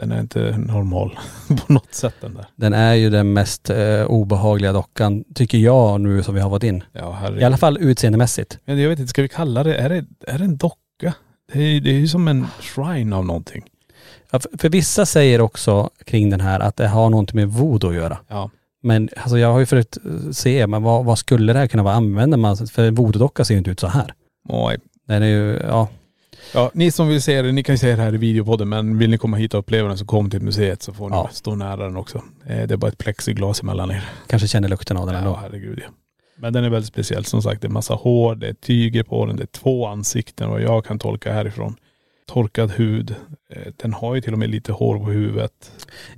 Speaker 2: den är inte normal på något sätt den där.
Speaker 1: Den är ju den mest eh, obehagliga dockan, tycker jag nu som vi har varit in.
Speaker 2: Ja,
Speaker 1: I
Speaker 2: herregud.
Speaker 1: alla fall utseendemässigt.
Speaker 2: Men jag vet inte, ska vi kalla det, är det, är det en docka? Det är, det är ju som en shrine av någonting.
Speaker 1: Ja, för, för vissa säger också kring den här att det har någonting med voodoo att göra.
Speaker 2: Ja.
Speaker 1: Men alltså jag har ju försökt eh, se, men vad, vad skulle det här kunna vara? Använder man, för en voodoo-docka ser ju inte ut så här.
Speaker 2: Oj.
Speaker 1: Den är ju, ja.
Speaker 2: Ja, ni som vill se det, ni kan se det här i videopodden men vill ni komma hit och uppleva den så kom till museet så får ni
Speaker 1: Ja.
Speaker 2: stå nära den också. Eh, Det är bara ett plexiglas emellan er.
Speaker 1: Kanske känner lukten av den
Speaker 2: Ja,
Speaker 1: ändå.
Speaker 2: herregud ja. Men den är väldigt speciell. Som sagt, det är massa hår, det är tyger på den, det är två ansikten vad jag kan tolka härifrån. Torkad hud. Eh, Den har ju till och med lite hår på huvudet.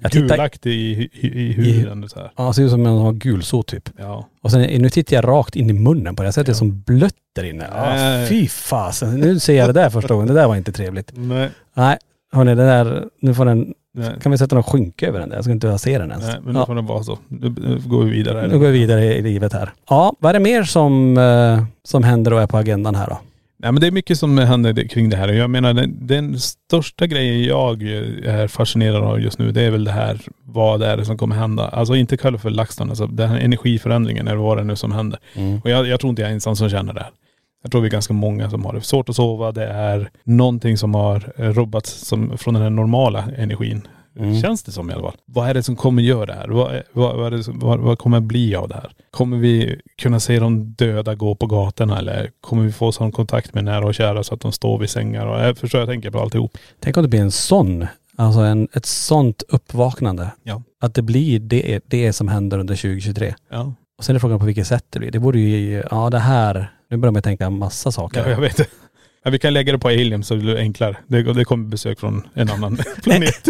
Speaker 1: Jag tittar-
Speaker 2: Gulaktig i, i, i huden. Så här.
Speaker 1: Ja, ser ut som en sån gulsot typ.
Speaker 2: Ja.
Speaker 1: Och sen, nu tittar jag rakt in i munnen på det. Jag ser att det är som blött där inne. Ja,
Speaker 2: Nej.
Speaker 1: fy fasen. Nu ser jag det där första gången. Det där var inte trevligt.
Speaker 2: Nej.
Speaker 1: Nej, hörni, det där, nu får den,
Speaker 2: Nej.
Speaker 1: kan vi sätta någon skynke över den där? Jag ska inte behöva se den ens.
Speaker 2: Nej, men nu
Speaker 1: ja,
Speaker 2: får den vara så. Nu, nu går vi vidare. Här.
Speaker 1: nu går vi vidare i livet här. Ja, vad är det mer som, eh, som händer och är på agendan här då?
Speaker 2: Nej men det är mycket som händer det- kring det här. Jag menar den, den största grejen jag eh, är fascinerad av just nu det är väl det här vad det är som kommer hända. Alltså inte kalla för LaxTon, alltså den här energiförändringen eller vad det är nu som händer.
Speaker 1: Mm.
Speaker 2: Och jag, jag tror inte jag är ensam som känner det här. Jag tror vi är ganska många som har det svårt att sova. Det är någonting som har eh, rubbats som, från den här normala energin. Känns det som i alla fall. Vad är det som kommer göra det här? Vad, är- vad, vad, är det som, vad, vad kommer bli av det här? Kommer vi kunna se de döda gå på gatorna eller kommer vi få sån kontakt med nära och kära så att de står vid sängar? Och, jag förstår, jag tänker på alltihop.
Speaker 1: Tänk om det blir en sån, alltså en, ett sånt uppvaknande.
Speaker 2: Ja.
Speaker 1: Att det blir det, det som händer under 2023.
Speaker 2: Ja.
Speaker 1: Och sen är frågan på vilket sätt det blir. Det borde ju, ja det här, nu börjar man tänka en massa saker.
Speaker 2: Ja, jag vet. Ja, vi kan lägga det på alien så det blir enklare. Det, det kommer besök från en annan planet.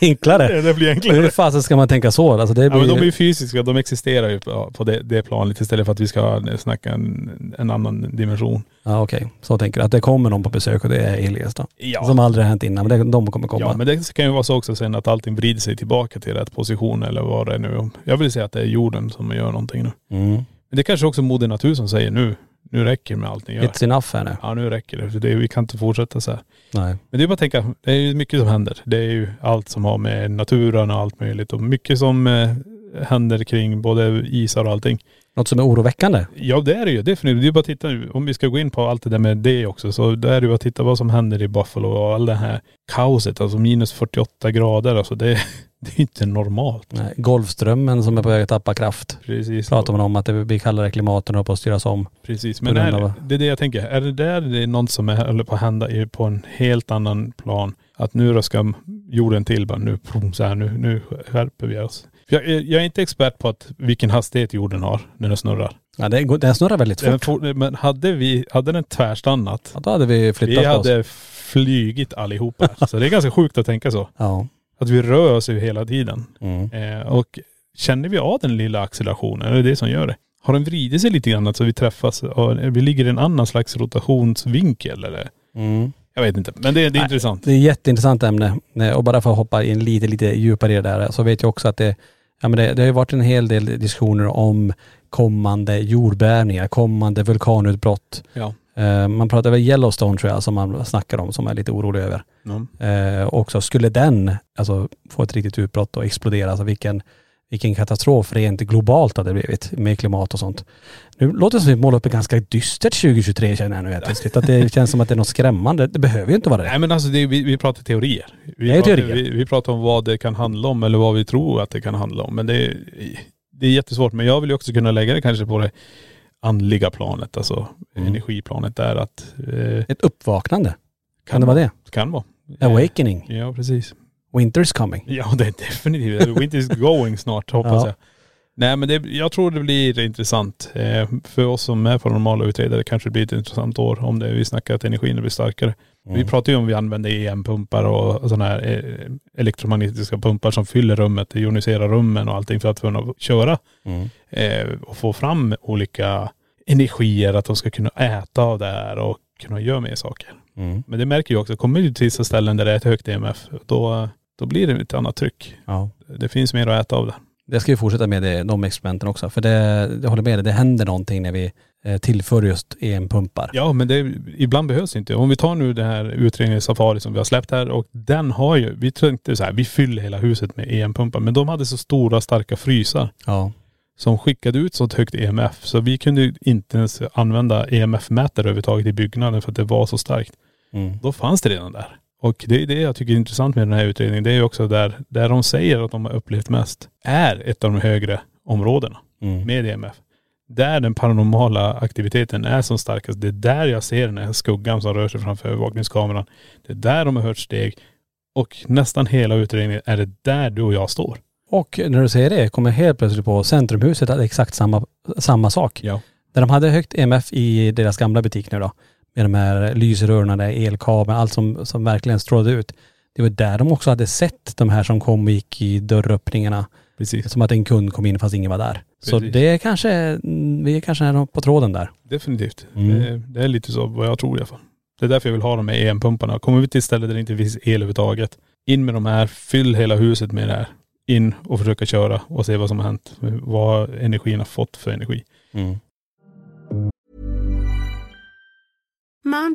Speaker 1: Enklare.
Speaker 2: det blir
Speaker 1: Hur
Speaker 2: enklare.
Speaker 1: fasen ska man tänka så? Alltså det
Speaker 2: Ja,
Speaker 1: blir,
Speaker 2: men de är ju fysiska, de existerar ju på på det, det planet istället för att vi ska snacka en, en annan dimension.
Speaker 1: Ja, okej, så tänker du. Att det kommer någon på besök och det är Elias då.
Speaker 2: Ja.
Speaker 1: Som aldrig har hänt innan, men det, de kommer komma.
Speaker 2: Ja men det kan ju vara så också sen att allting vrider sig tillbaka till rätt position eller vad det är nu. Jag vill säga att det är jorden som gör någonting nu.
Speaker 1: mm.
Speaker 2: Men det kanske också moder natur som säger nu, nu räcker det med allt ni gör.
Speaker 1: It's enough här nu.
Speaker 2: Ja nu räcker det, för det, vi kan inte fortsätta så här.
Speaker 1: Nej.
Speaker 2: Men det är bara att tänka, det är ju mycket som händer. Det är ju allt som har med naturen och allt möjligt och mycket som eh, händer kring både isar och allting.
Speaker 1: Något som är oroväckande.
Speaker 2: Ja det är det ju definitivt. Det är bara att titta nu, om vi ska gå in på allt det där med det också, så där är det ju att titta vad som händer i Buffalo och all det här kaoset, alltså minus 48 grader, alltså det, det är inte normalt.
Speaker 1: Nej. Golfströmmen som är på väg att tappa kraft.
Speaker 2: Precis.
Speaker 1: Pratar man om att det blir kallare klimat och den håller på att styras om.
Speaker 2: Precis,
Speaker 1: På
Speaker 2: men
Speaker 1: grund av-
Speaker 2: är, det är det jag tänker. Är det där det är något som är, håller på att hända i- på en helt annan plan? Att nu då ska jorden till bara nu, prom, så här, nu, nu skärper vi oss. För Jag, är- jag är inte expert på att, vilken hastighet jorden har när den snurrar.
Speaker 1: Ja, det, går- den snurrar väldigt
Speaker 2: Den
Speaker 1: fort.
Speaker 2: for, men hade, vi, hade den tvärstannat,
Speaker 1: Ja, då hade vi flyttat
Speaker 2: vi
Speaker 1: på oss.
Speaker 2: hade flygit allihopa. så det är ganska sjukt att tänka så.
Speaker 1: Ja.
Speaker 2: Att vi rör oss ju hela tiden.
Speaker 1: Mm.
Speaker 2: Eh, och känner vi av den lilla accelerationen, det är det som gör det. Har den vridit sig lite grann så vi träffas, och vi ligger i en annan slags rotationsvinkel eller?
Speaker 1: Mm.
Speaker 2: Jag vet inte, men det, det är
Speaker 1: Nej.
Speaker 2: intressant.
Speaker 1: Det är ett jätteintressant ämne. Nej, Och bara för att hoppa in lite, lite djupare i det där så vet jag också att det, ja, men det, det har ju varit en hel del diskussioner om kommande jordbävningar, kommande vulkanutbrott.
Speaker 2: Ja.
Speaker 1: Eh, man pratar väl Yellowstone tror jag som man snackar om som man är lite orolig över.
Speaker 2: Mm.
Speaker 1: Eh, också skulle den alltså, få ett riktigt utbrott och explodera, alltså vilken, vilken katastrof rent globalt hade det blivit med klimat och sånt. Nu låter det som att vi målar upp ett ganska dystert 2023 känner jag nu helt plötsligt. Att det känns som att det är något skrämmande. Det behöver ju inte vara det.
Speaker 2: Nej men alltså det, vi, vi pratar teorier. Vi,
Speaker 1: Det är
Speaker 2: pratar,
Speaker 1: teorier.
Speaker 2: Vi, vi pratar om vad det kan handla om eller vad vi tror att det kan handla om. Men det, är- det är jättesvårt. Men jag vill ju också kunna lägga det kanske på det andliga planet, alltså
Speaker 1: Mm.
Speaker 2: energiplanet där att.. Eh,
Speaker 1: Ett uppvaknande. Kan det vara det?
Speaker 2: Kan vara.
Speaker 1: Awakening.
Speaker 2: Ja precis.
Speaker 1: Winter's coming.
Speaker 2: Ja det är definitivt. Winter is going snart hoppas
Speaker 1: Ja.
Speaker 2: jag. Nej men det, jag tror det blir intressant. Eh, för oss som är paranormala utredare kanske det blir ett intressant år om det, vi snackar att energin blir starkare. Vi pratar ju om vi använder EM-pumpar och sådana här eh, elektromagnetiska pumpar som fyller rummet, ioniserar rummen och allting för att kunna köra eh, och få fram olika energier, att de ska kunna äta av det här och kunna göra mer saker. Men det märker jag också, kommer du till vissa ställen där det är ett högt EMF, då, då blir det ett annat tryck.
Speaker 1: Ja.
Speaker 2: Det finns mer att äta av det.
Speaker 1: Jag ska ju fortsätta med det, de experimenten också. För det, jag håller med dig, det händer någonting när vi eh, tillför just EM-pumpar.
Speaker 2: Ja men det, ibland behövs det inte. Om vi tar nu den här utredningen Safari som vi har släppt här och den har ju, vi tänkte så här, vi fyller hela huset med EM-pumpar men de hade så stora starka frysar
Speaker 1: Ja.
Speaker 2: som skickade ut så ett högt EMF så vi kunde ju inte ens använda EMF-mätare överhuvudtaget i byggnaden för att det var så starkt.
Speaker 1: Mm.
Speaker 2: Då fanns det redan där. Och det är det jag tycker är intressant med den här utredningen. Det är ju också där, där de säger att de har upplevt mest är ett av de högre områdena
Speaker 1: Mm.
Speaker 2: med EMF. där den paranormala aktiviteten är som starkast. Det är där jag ser den här skuggan som rör sig framför övervakningskameran. Det är där de har hört steg. Och nästan hela utredningen är det där du och jag står.
Speaker 1: Och när du säger det kommer jag helt plötsligt på Centrumhuset att exakt samma, samma sak.
Speaker 2: Ja.
Speaker 1: Där de hade högt EMF i deras gamla butik nu då. Med de här lysrören, där elkabeln, allt som, som verkligen strålade ut. Det var där de också hade sett de här som kom och gick i dörröppningarna.
Speaker 2: Precis.
Speaker 1: Som att en kund kom in fast ingen var där. Så
Speaker 2: Precis.
Speaker 1: det är kanske, mm, vi är kanske är på tråden där.
Speaker 2: Definitivt.
Speaker 1: Mm.
Speaker 2: Det, är- det är lite så vad jag tror i alla fall. Det är därför jag vill ha de här EM-pumparna. Kommer vi till ett ställe där det inte finns el överhuvudtaget, in med de här, fyll hela huset med det här. In och försöka köra och se vad som har hänt. Vad energin har fått för energi.
Speaker 5: Mom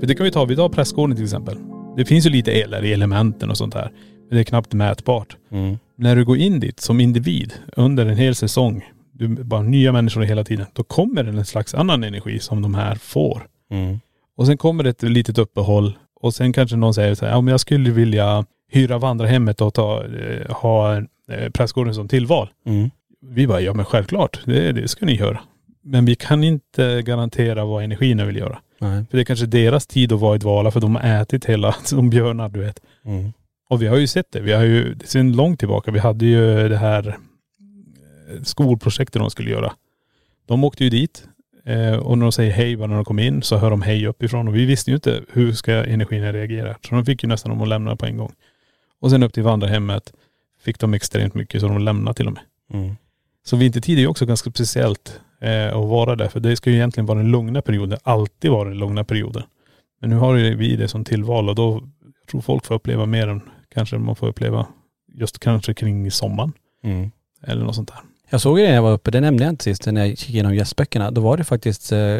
Speaker 2: För det kan vi ta, vi tar prästgården till exempel. Det finns ju lite el där i elementen och sånt där. Men det är knappt mätbart. När du går in dit som individ under en hel säsong, du är bara nya människor hela tiden, då kommer det en slags annan energi som de här får. Och sen kommer det ett litet uppehåll och sen kanske någon säger så här, ja men jag skulle vilja hyra vandrarhemmet och ta, eh, ha eh, prästgården som tillval. Vi bara, ja men självklart, det, det ska ni göra. Men vi kan inte garantera vad energierna vill göra.
Speaker 1: Nej.
Speaker 2: För det är kanske deras tid att vara i dvala för de har ätit hela, som björnar du vet.
Speaker 1: Mm.
Speaker 2: Och vi har ju sett det. Vi har ju, sen långt tillbaka, vi hade ju det här eh, skolprojektet de skulle göra. De åkte ju dit eh, och när de säger hej bara när de kom in så hör de hej uppifrån och vi visste ju inte hur ska energin reagera. Så de fick ju nästan dem att lämna på en gång. Och sen upp till vandrarhemmet fick de extremt mycket så de lämnade till och med.
Speaker 1: Mm.
Speaker 2: Så vintertid är ju också ganska speciellt eh, att vara där. För det ska ju egentligen vara den lugna perioden. Alltid vara den lugna perioden. Men nu har ju vi det som tillval och då tror folk får uppleva mer än kanske man får uppleva just kanske kring sommaren.
Speaker 1: Mm.
Speaker 2: Eller något sånt där.
Speaker 1: Jag såg ju det när jag var uppe, det nämnde jag inte sist när jag gick igenom gästböckerna. Då var det faktiskt, eh,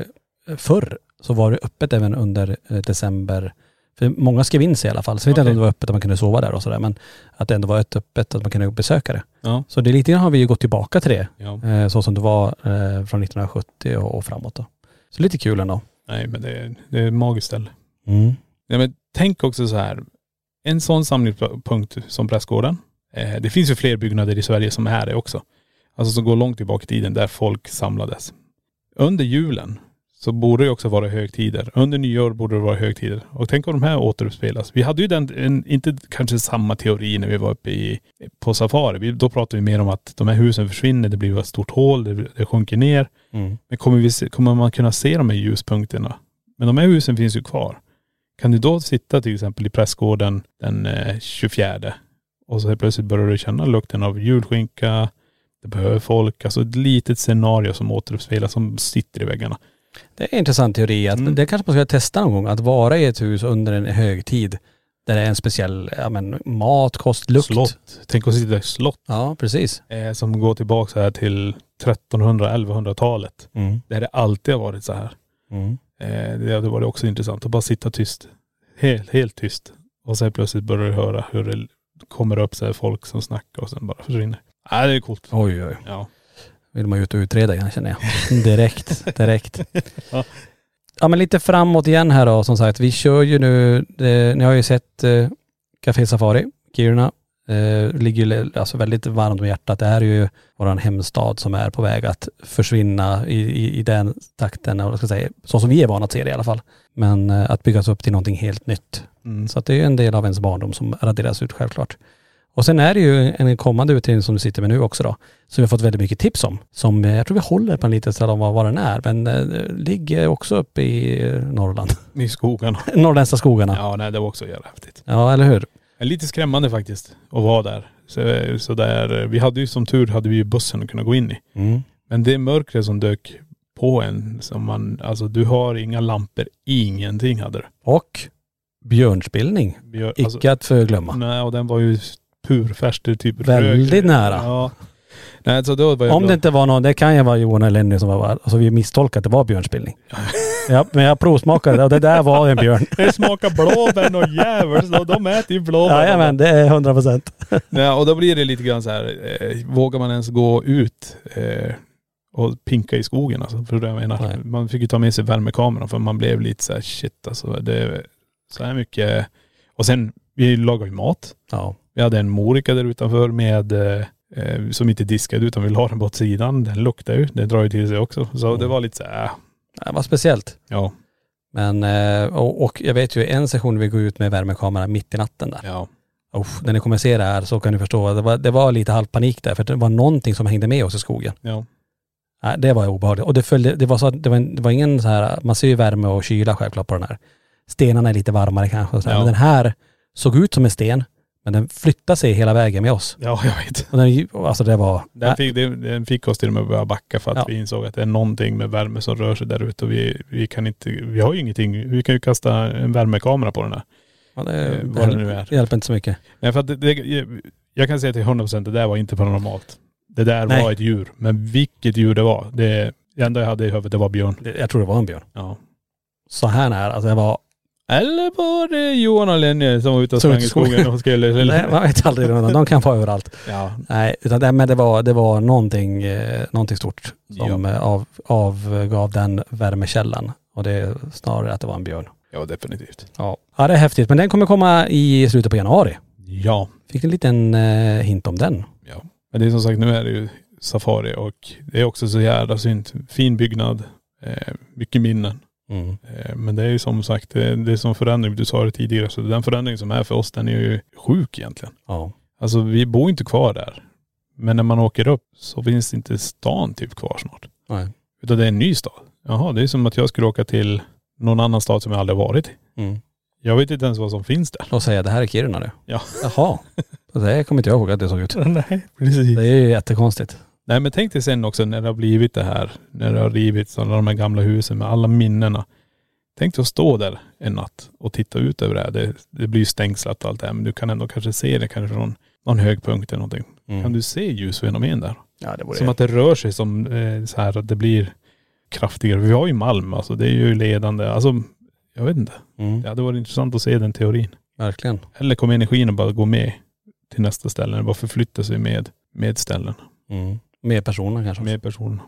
Speaker 1: förr så var det öppet även under eh, december. För många skrev in sig i alla fall. Så jag vet inte
Speaker 2: Okej.
Speaker 1: om det var öppet att man kunde sova där och sådär. Men att det ändå var ett öppet att man kunde besöka det.
Speaker 2: Ja.
Speaker 1: Så det är lite grann har vi ju gått tillbaka till det.
Speaker 2: ja.
Speaker 1: Eh, så som det var eh, från 1970 och, och framåt då. Så lite kul ändå.
Speaker 2: Nej men det är, det är ett magiskt ställe.
Speaker 1: Mm.
Speaker 2: Ja, men tänk också så här. En sån samlingspunkt som Prästgården. Eh, det finns ju fler byggnader i Sverige som är det också. Alltså som går långt tillbaka i tiden där folk samlades. Under julen så borde det också vara högtider. Under nyår borde det vara högtider. Och tänk om de här återuppspelas. Vi hade ju den, en, inte kanske samma teori när vi var uppe i, på safari. Vi, då pratade vi mer om att de här husen försvinner, det blir ett stort hål, det, det sjunker ner.
Speaker 1: Mm.
Speaker 2: Men kommer, vi, se- kommer man kunna se de här ljuspunkterna? Men de här husen finns ju kvar. Kan du då sitta till exempel i prästgården den eh, 24 och så helt plötsligt börjar du känna lukten av julskinka, Det behöver folk. Alltså ett litet scenario som återuppspelas som sitter i väggarna.
Speaker 1: Det är en intressant teori. Att Det kanske man ska testa någon gång. Att vara i ett hus under en högtid där det är en speciell ja, men, mat, kost, lukt.
Speaker 2: Slott. Tänk att sitta i slott.
Speaker 1: Ja, precis.
Speaker 2: Eh, som går tillbaka så här till 1300-1100-talet.
Speaker 1: Mm.
Speaker 2: Där det alltid har varit så här.
Speaker 1: Mm.
Speaker 2: Eh, det hade varit också intressant att bara sitta tyst. Helt, helt tyst. Och sen plötsligt börjar du höra hur det kommer upp så här folk som snackar och sen bara försvinner. Nej, det är coolt.
Speaker 1: Oj, oj.
Speaker 2: Ja.
Speaker 1: vill man ju ut och utreda igen känner jag. Direkt, direkt.
Speaker 2: Ja.
Speaker 1: Ja men lite framåt igen här då som sagt. Vi kör ju nu, det, ni har ju sett eh, Café Safari, Kiruna. Eh, ligger ju alltså väldigt varmt om hjärtat. Det här är ju våran hemstad som är på väg att försvinna i, i, i den takten, eller vad ska jag säga, så som vi är vana att se det i alla fall. Men eh, att byggas upp till någonting helt nytt. Så att det är ju en del av ens barndom som raderas ut självklart. Och sen är det ju en kommande utredning som du sitter med nu också då, som vi har fått väldigt mycket tips om. Som eh, jag tror vi håller på en liten ställe om vad, vad den är, men eh, ligger också uppe i eh, Norrland.
Speaker 2: I skogarna.
Speaker 1: Norrländska skogarna. Ja.
Speaker 2: Ja, nej, det var också jävla häftigt.
Speaker 1: eller hur?
Speaker 2: Men Lite skrämmande faktiskt att vara där. Så, så där. Vi hade ju som tur hade vi ju bussen att kunna gå in i.
Speaker 1: Mm.
Speaker 2: Men det mörkret som dök på en som man, alltså du har inga lampor, ingenting hade du.
Speaker 1: Och björnsbildning.
Speaker 2: Björ- alltså-
Speaker 1: Icke att förglömma.
Speaker 2: Nej och den var ju purfärsk, det är typ rök.
Speaker 1: Väldigt nära.
Speaker 2: Ja. Nej så då var jag
Speaker 1: Om det
Speaker 2: glad.
Speaker 1: inte var någon, det kan ju vara Johan eller Lenny som var, alltså vi misstolkade att det var björnsbildning. ja, men jag provsmakade det och det där var en björn.
Speaker 2: Det smakar blåbär och djävulskt och de äter ju blåbär.
Speaker 1: Jajamän, det är hundra procent.
Speaker 2: Nej, och då blir det lite grann så här, eh, vågar man ens gå ut eh, och pinka i skogen alltså? För det jag menar.
Speaker 1: Nej.
Speaker 2: Man fick ju ta med sig värmekameran för man blev lite så här shit alltså. Det är så här mycket. Och sen, vi lagade ju mat.
Speaker 1: Ja.
Speaker 2: Vi hade en morika där utanför med, eh, eh, som inte diskade utan vi la den på åt sidan. Den luktade ju. Den drar ju till sig också. Så det var lite så här, äh,
Speaker 1: Det var speciellt.
Speaker 2: ja.
Speaker 1: Men, eh, och, och jag vet ju en session vi går ut med värmekamera mitt i natten där.
Speaker 2: ja.
Speaker 1: Uff, när ni kommer se det här så kan ni förstå, det var, det var lite halvpanik där för det var någonting som hängde med oss i skogen.
Speaker 2: Ja.
Speaker 1: Nej, det var obehagligt. Och det, följde, det, var så, det, var, en- det var ingen så här, man ser ju värme och kyla självklart på den här. Stenarna är lite varmare kanske. och Så här.
Speaker 2: Ja.
Speaker 1: Men den här såg ut som en sten, men den flyttade sig hela vägen med oss.
Speaker 2: Ja, jag vet.
Speaker 1: Och den, alltså det var,
Speaker 2: Den fick, den- den fick oss till och med att börja backa för att
Speaker 1: Ja.
Speaker 2: vi insåg att det är någonting med värme som rör sig där ute och vi, vi kan inte, vi har ju ingenting, vi kan ju kasta en värmekamera på den här.
Speaker 1: ja,
Speaker 2: eh,
Speaker 1: det,
Speaker 2: vad
Speaker 1: det,
Speaker 2: det nu är.
Speaker 1: hjälper inte så mycket.
Speaker 2: Nej för att det, det, jag kan säga till 100 procent, det där var inte paranormalt. Det där
Speaker 1: Nej.
Speaker 2: var ett djur, men vilket djur det var, det, det enda jag hade i huvudet det var björn.
Speaker 1: Det- Jag tror det var en björn.
Speaker 2: Ja.
Speaker 1: Så här nära, alltså det var,
Speaker 2: Eller var det Johan och Lenny som var ute och
Speaker 1: Som
Speaker 2: sprang i
Speaker 1: ute i skogen.
Speaker 2: skogen och skulle...
Speaker 1: nej, man vet aldrig, de kan vara överallt.
Speaker 2: Ja.
Speaker 1: Nej, utan det, men det var, det var någonting, eh, någonting stort som eh, av, avgav den värmekällan. Och det är snarare att det var en björn.
Speaker 2: ja, definitivt.
Speaker 1: Ja. ja, det är häftigt. Men den kommer komma i slutet på januari.
Speaker 2: Ja.
Speaker 1: Fick en liten eh, hint om den.
Speaker 2: Ja. Men det är som sagt, nu är det ju safari och det är också så jävla synd. Fin byggnad, eh, mycket minnen.
Speaker 1: Mm.
Speaker 2: Eh, Men det är ju som sagt, det det är som förändring, du sa det tidigare, så den förändring som är för oss den är ju sjuk egentligen.
Speaker 1: Ja.
Speaker 2: Alltså vi bor inte kvar där. Men när man åker upp så finns inte stan typ kvar snart.
Speaker 1: Nej.
Speaker 2: Utan det är en ny stad. Jaha, det är som att jag skulle åka till någon annan stad som jag aldrig varit i.
Speaker 1: Mm.
Speaker 2: Jag vet inte ens vad som finns där.
Speaker 1: Och säga det här är Kiruna nu.
Speaker 2: Ja.
Speaker 1: Jaha. Det kommer inte jag ihåg att det såg ut.
Speaker 2: Nej, precis.
Speaker 1: Det är ju jättekonstigt.
Speaker 2: Nej men tänk dig sen också när det har blivit det här, när det har rivits alla de här gamla husen med alla minnena. Tänk dig att stå där en natt och titta ut över det här. Det, det blir ju stängslat och allt det här men du kan ändå kanske se det kanske från någon hög punkt eller någonting. Kan du se ljusfenomen där?
Speaker 1: Ja, Mm. det
Speaker 2: Som att det rör sig som eh, så här att det blir kraftigare. Vi har ju malm alltså, det är ju ledande. Alltså jag vet inte.
Speaker 1: Mm.
Speaker 2: Det hade varit intressant att se den teorin.
Speaker 1: Verkligen.
Speaker 2: Eller kommer energin att bara gå med till nästa ställe? Bara förflytta sig med, med ställen,
Speaker 1: Mm. Mer personer kanske.
Speaker 2: med personerna.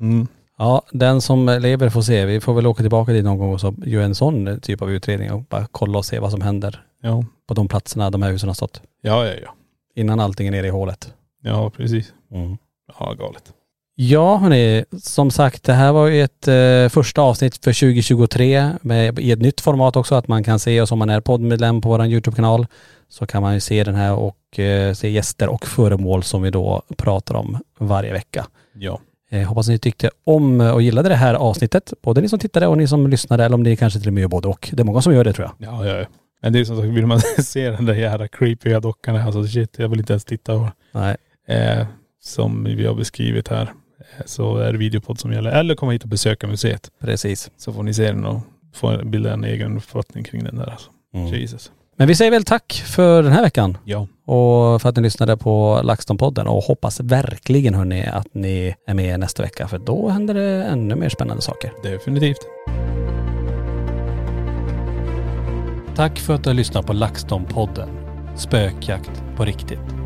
Speaker 2: Mm.
Speaker 1: Ja, den som lever får se. Vi får väl åka tillbaka dit någon gång och så göra en sån typ av utredning och bara kolla och se vad som händer
Speaker 2: Ja.
Speaker 1: på de platserna de här husen har stått.
Speaker 2: Ja, ja, ja.
Speaker 1: Innan allting är nere i hålet. Mm.
Speaker 2: Ja, precis. Ja, galet.
Speaker 1: Ja hörni, som sagt det här var ju ett eh, första avsnitt för 2023 med, i ett nytt format också att man kan se oss om man är poddmedlem på vår Youtube-kanal så kan man ju se den här och eh, se gäster och föremål som vi då pratar om varje vecka.
Speaker 2: Ja.
Speaker 1: Eh, hoppas ni tyckte om eh, och gillade det här avsnittet, både ni som tittade och ni som lyssnade eller om ni kanske till och med gör både och. Det är många som gör det tror jag.
Speaker 2: Ja, ja, ja. Men det är som sagt, vill man se den där jävla creepy dockan, alltså shit, jag vill inte ens titta på
Speaker 1: Nej.
Speaker 2: eh, som vi har beskrivit här eh, så är det videopodd som gäller. Eller komma hit och besöka museet.
Speaker 1: Precis.
Speaker 2: Så får ni se den och få bilda en egen uppfattning kring den där. Alltså. Jesus.
Speaker 1: Mm. Men vi säger väl tack för den här veckan.
Speaker 2: Ja.
Speaker 1: Och för att ni lyssnade på LaxTon-podden och hoppas verkligen hörni att ni är med nästa vecka för då händer det ännu mer spännande saker.
Speaker 2: Definitivt.
Speaker 3: Tack för att du har lyssnat på LaxTon-podden. Spökjakt på riktigt.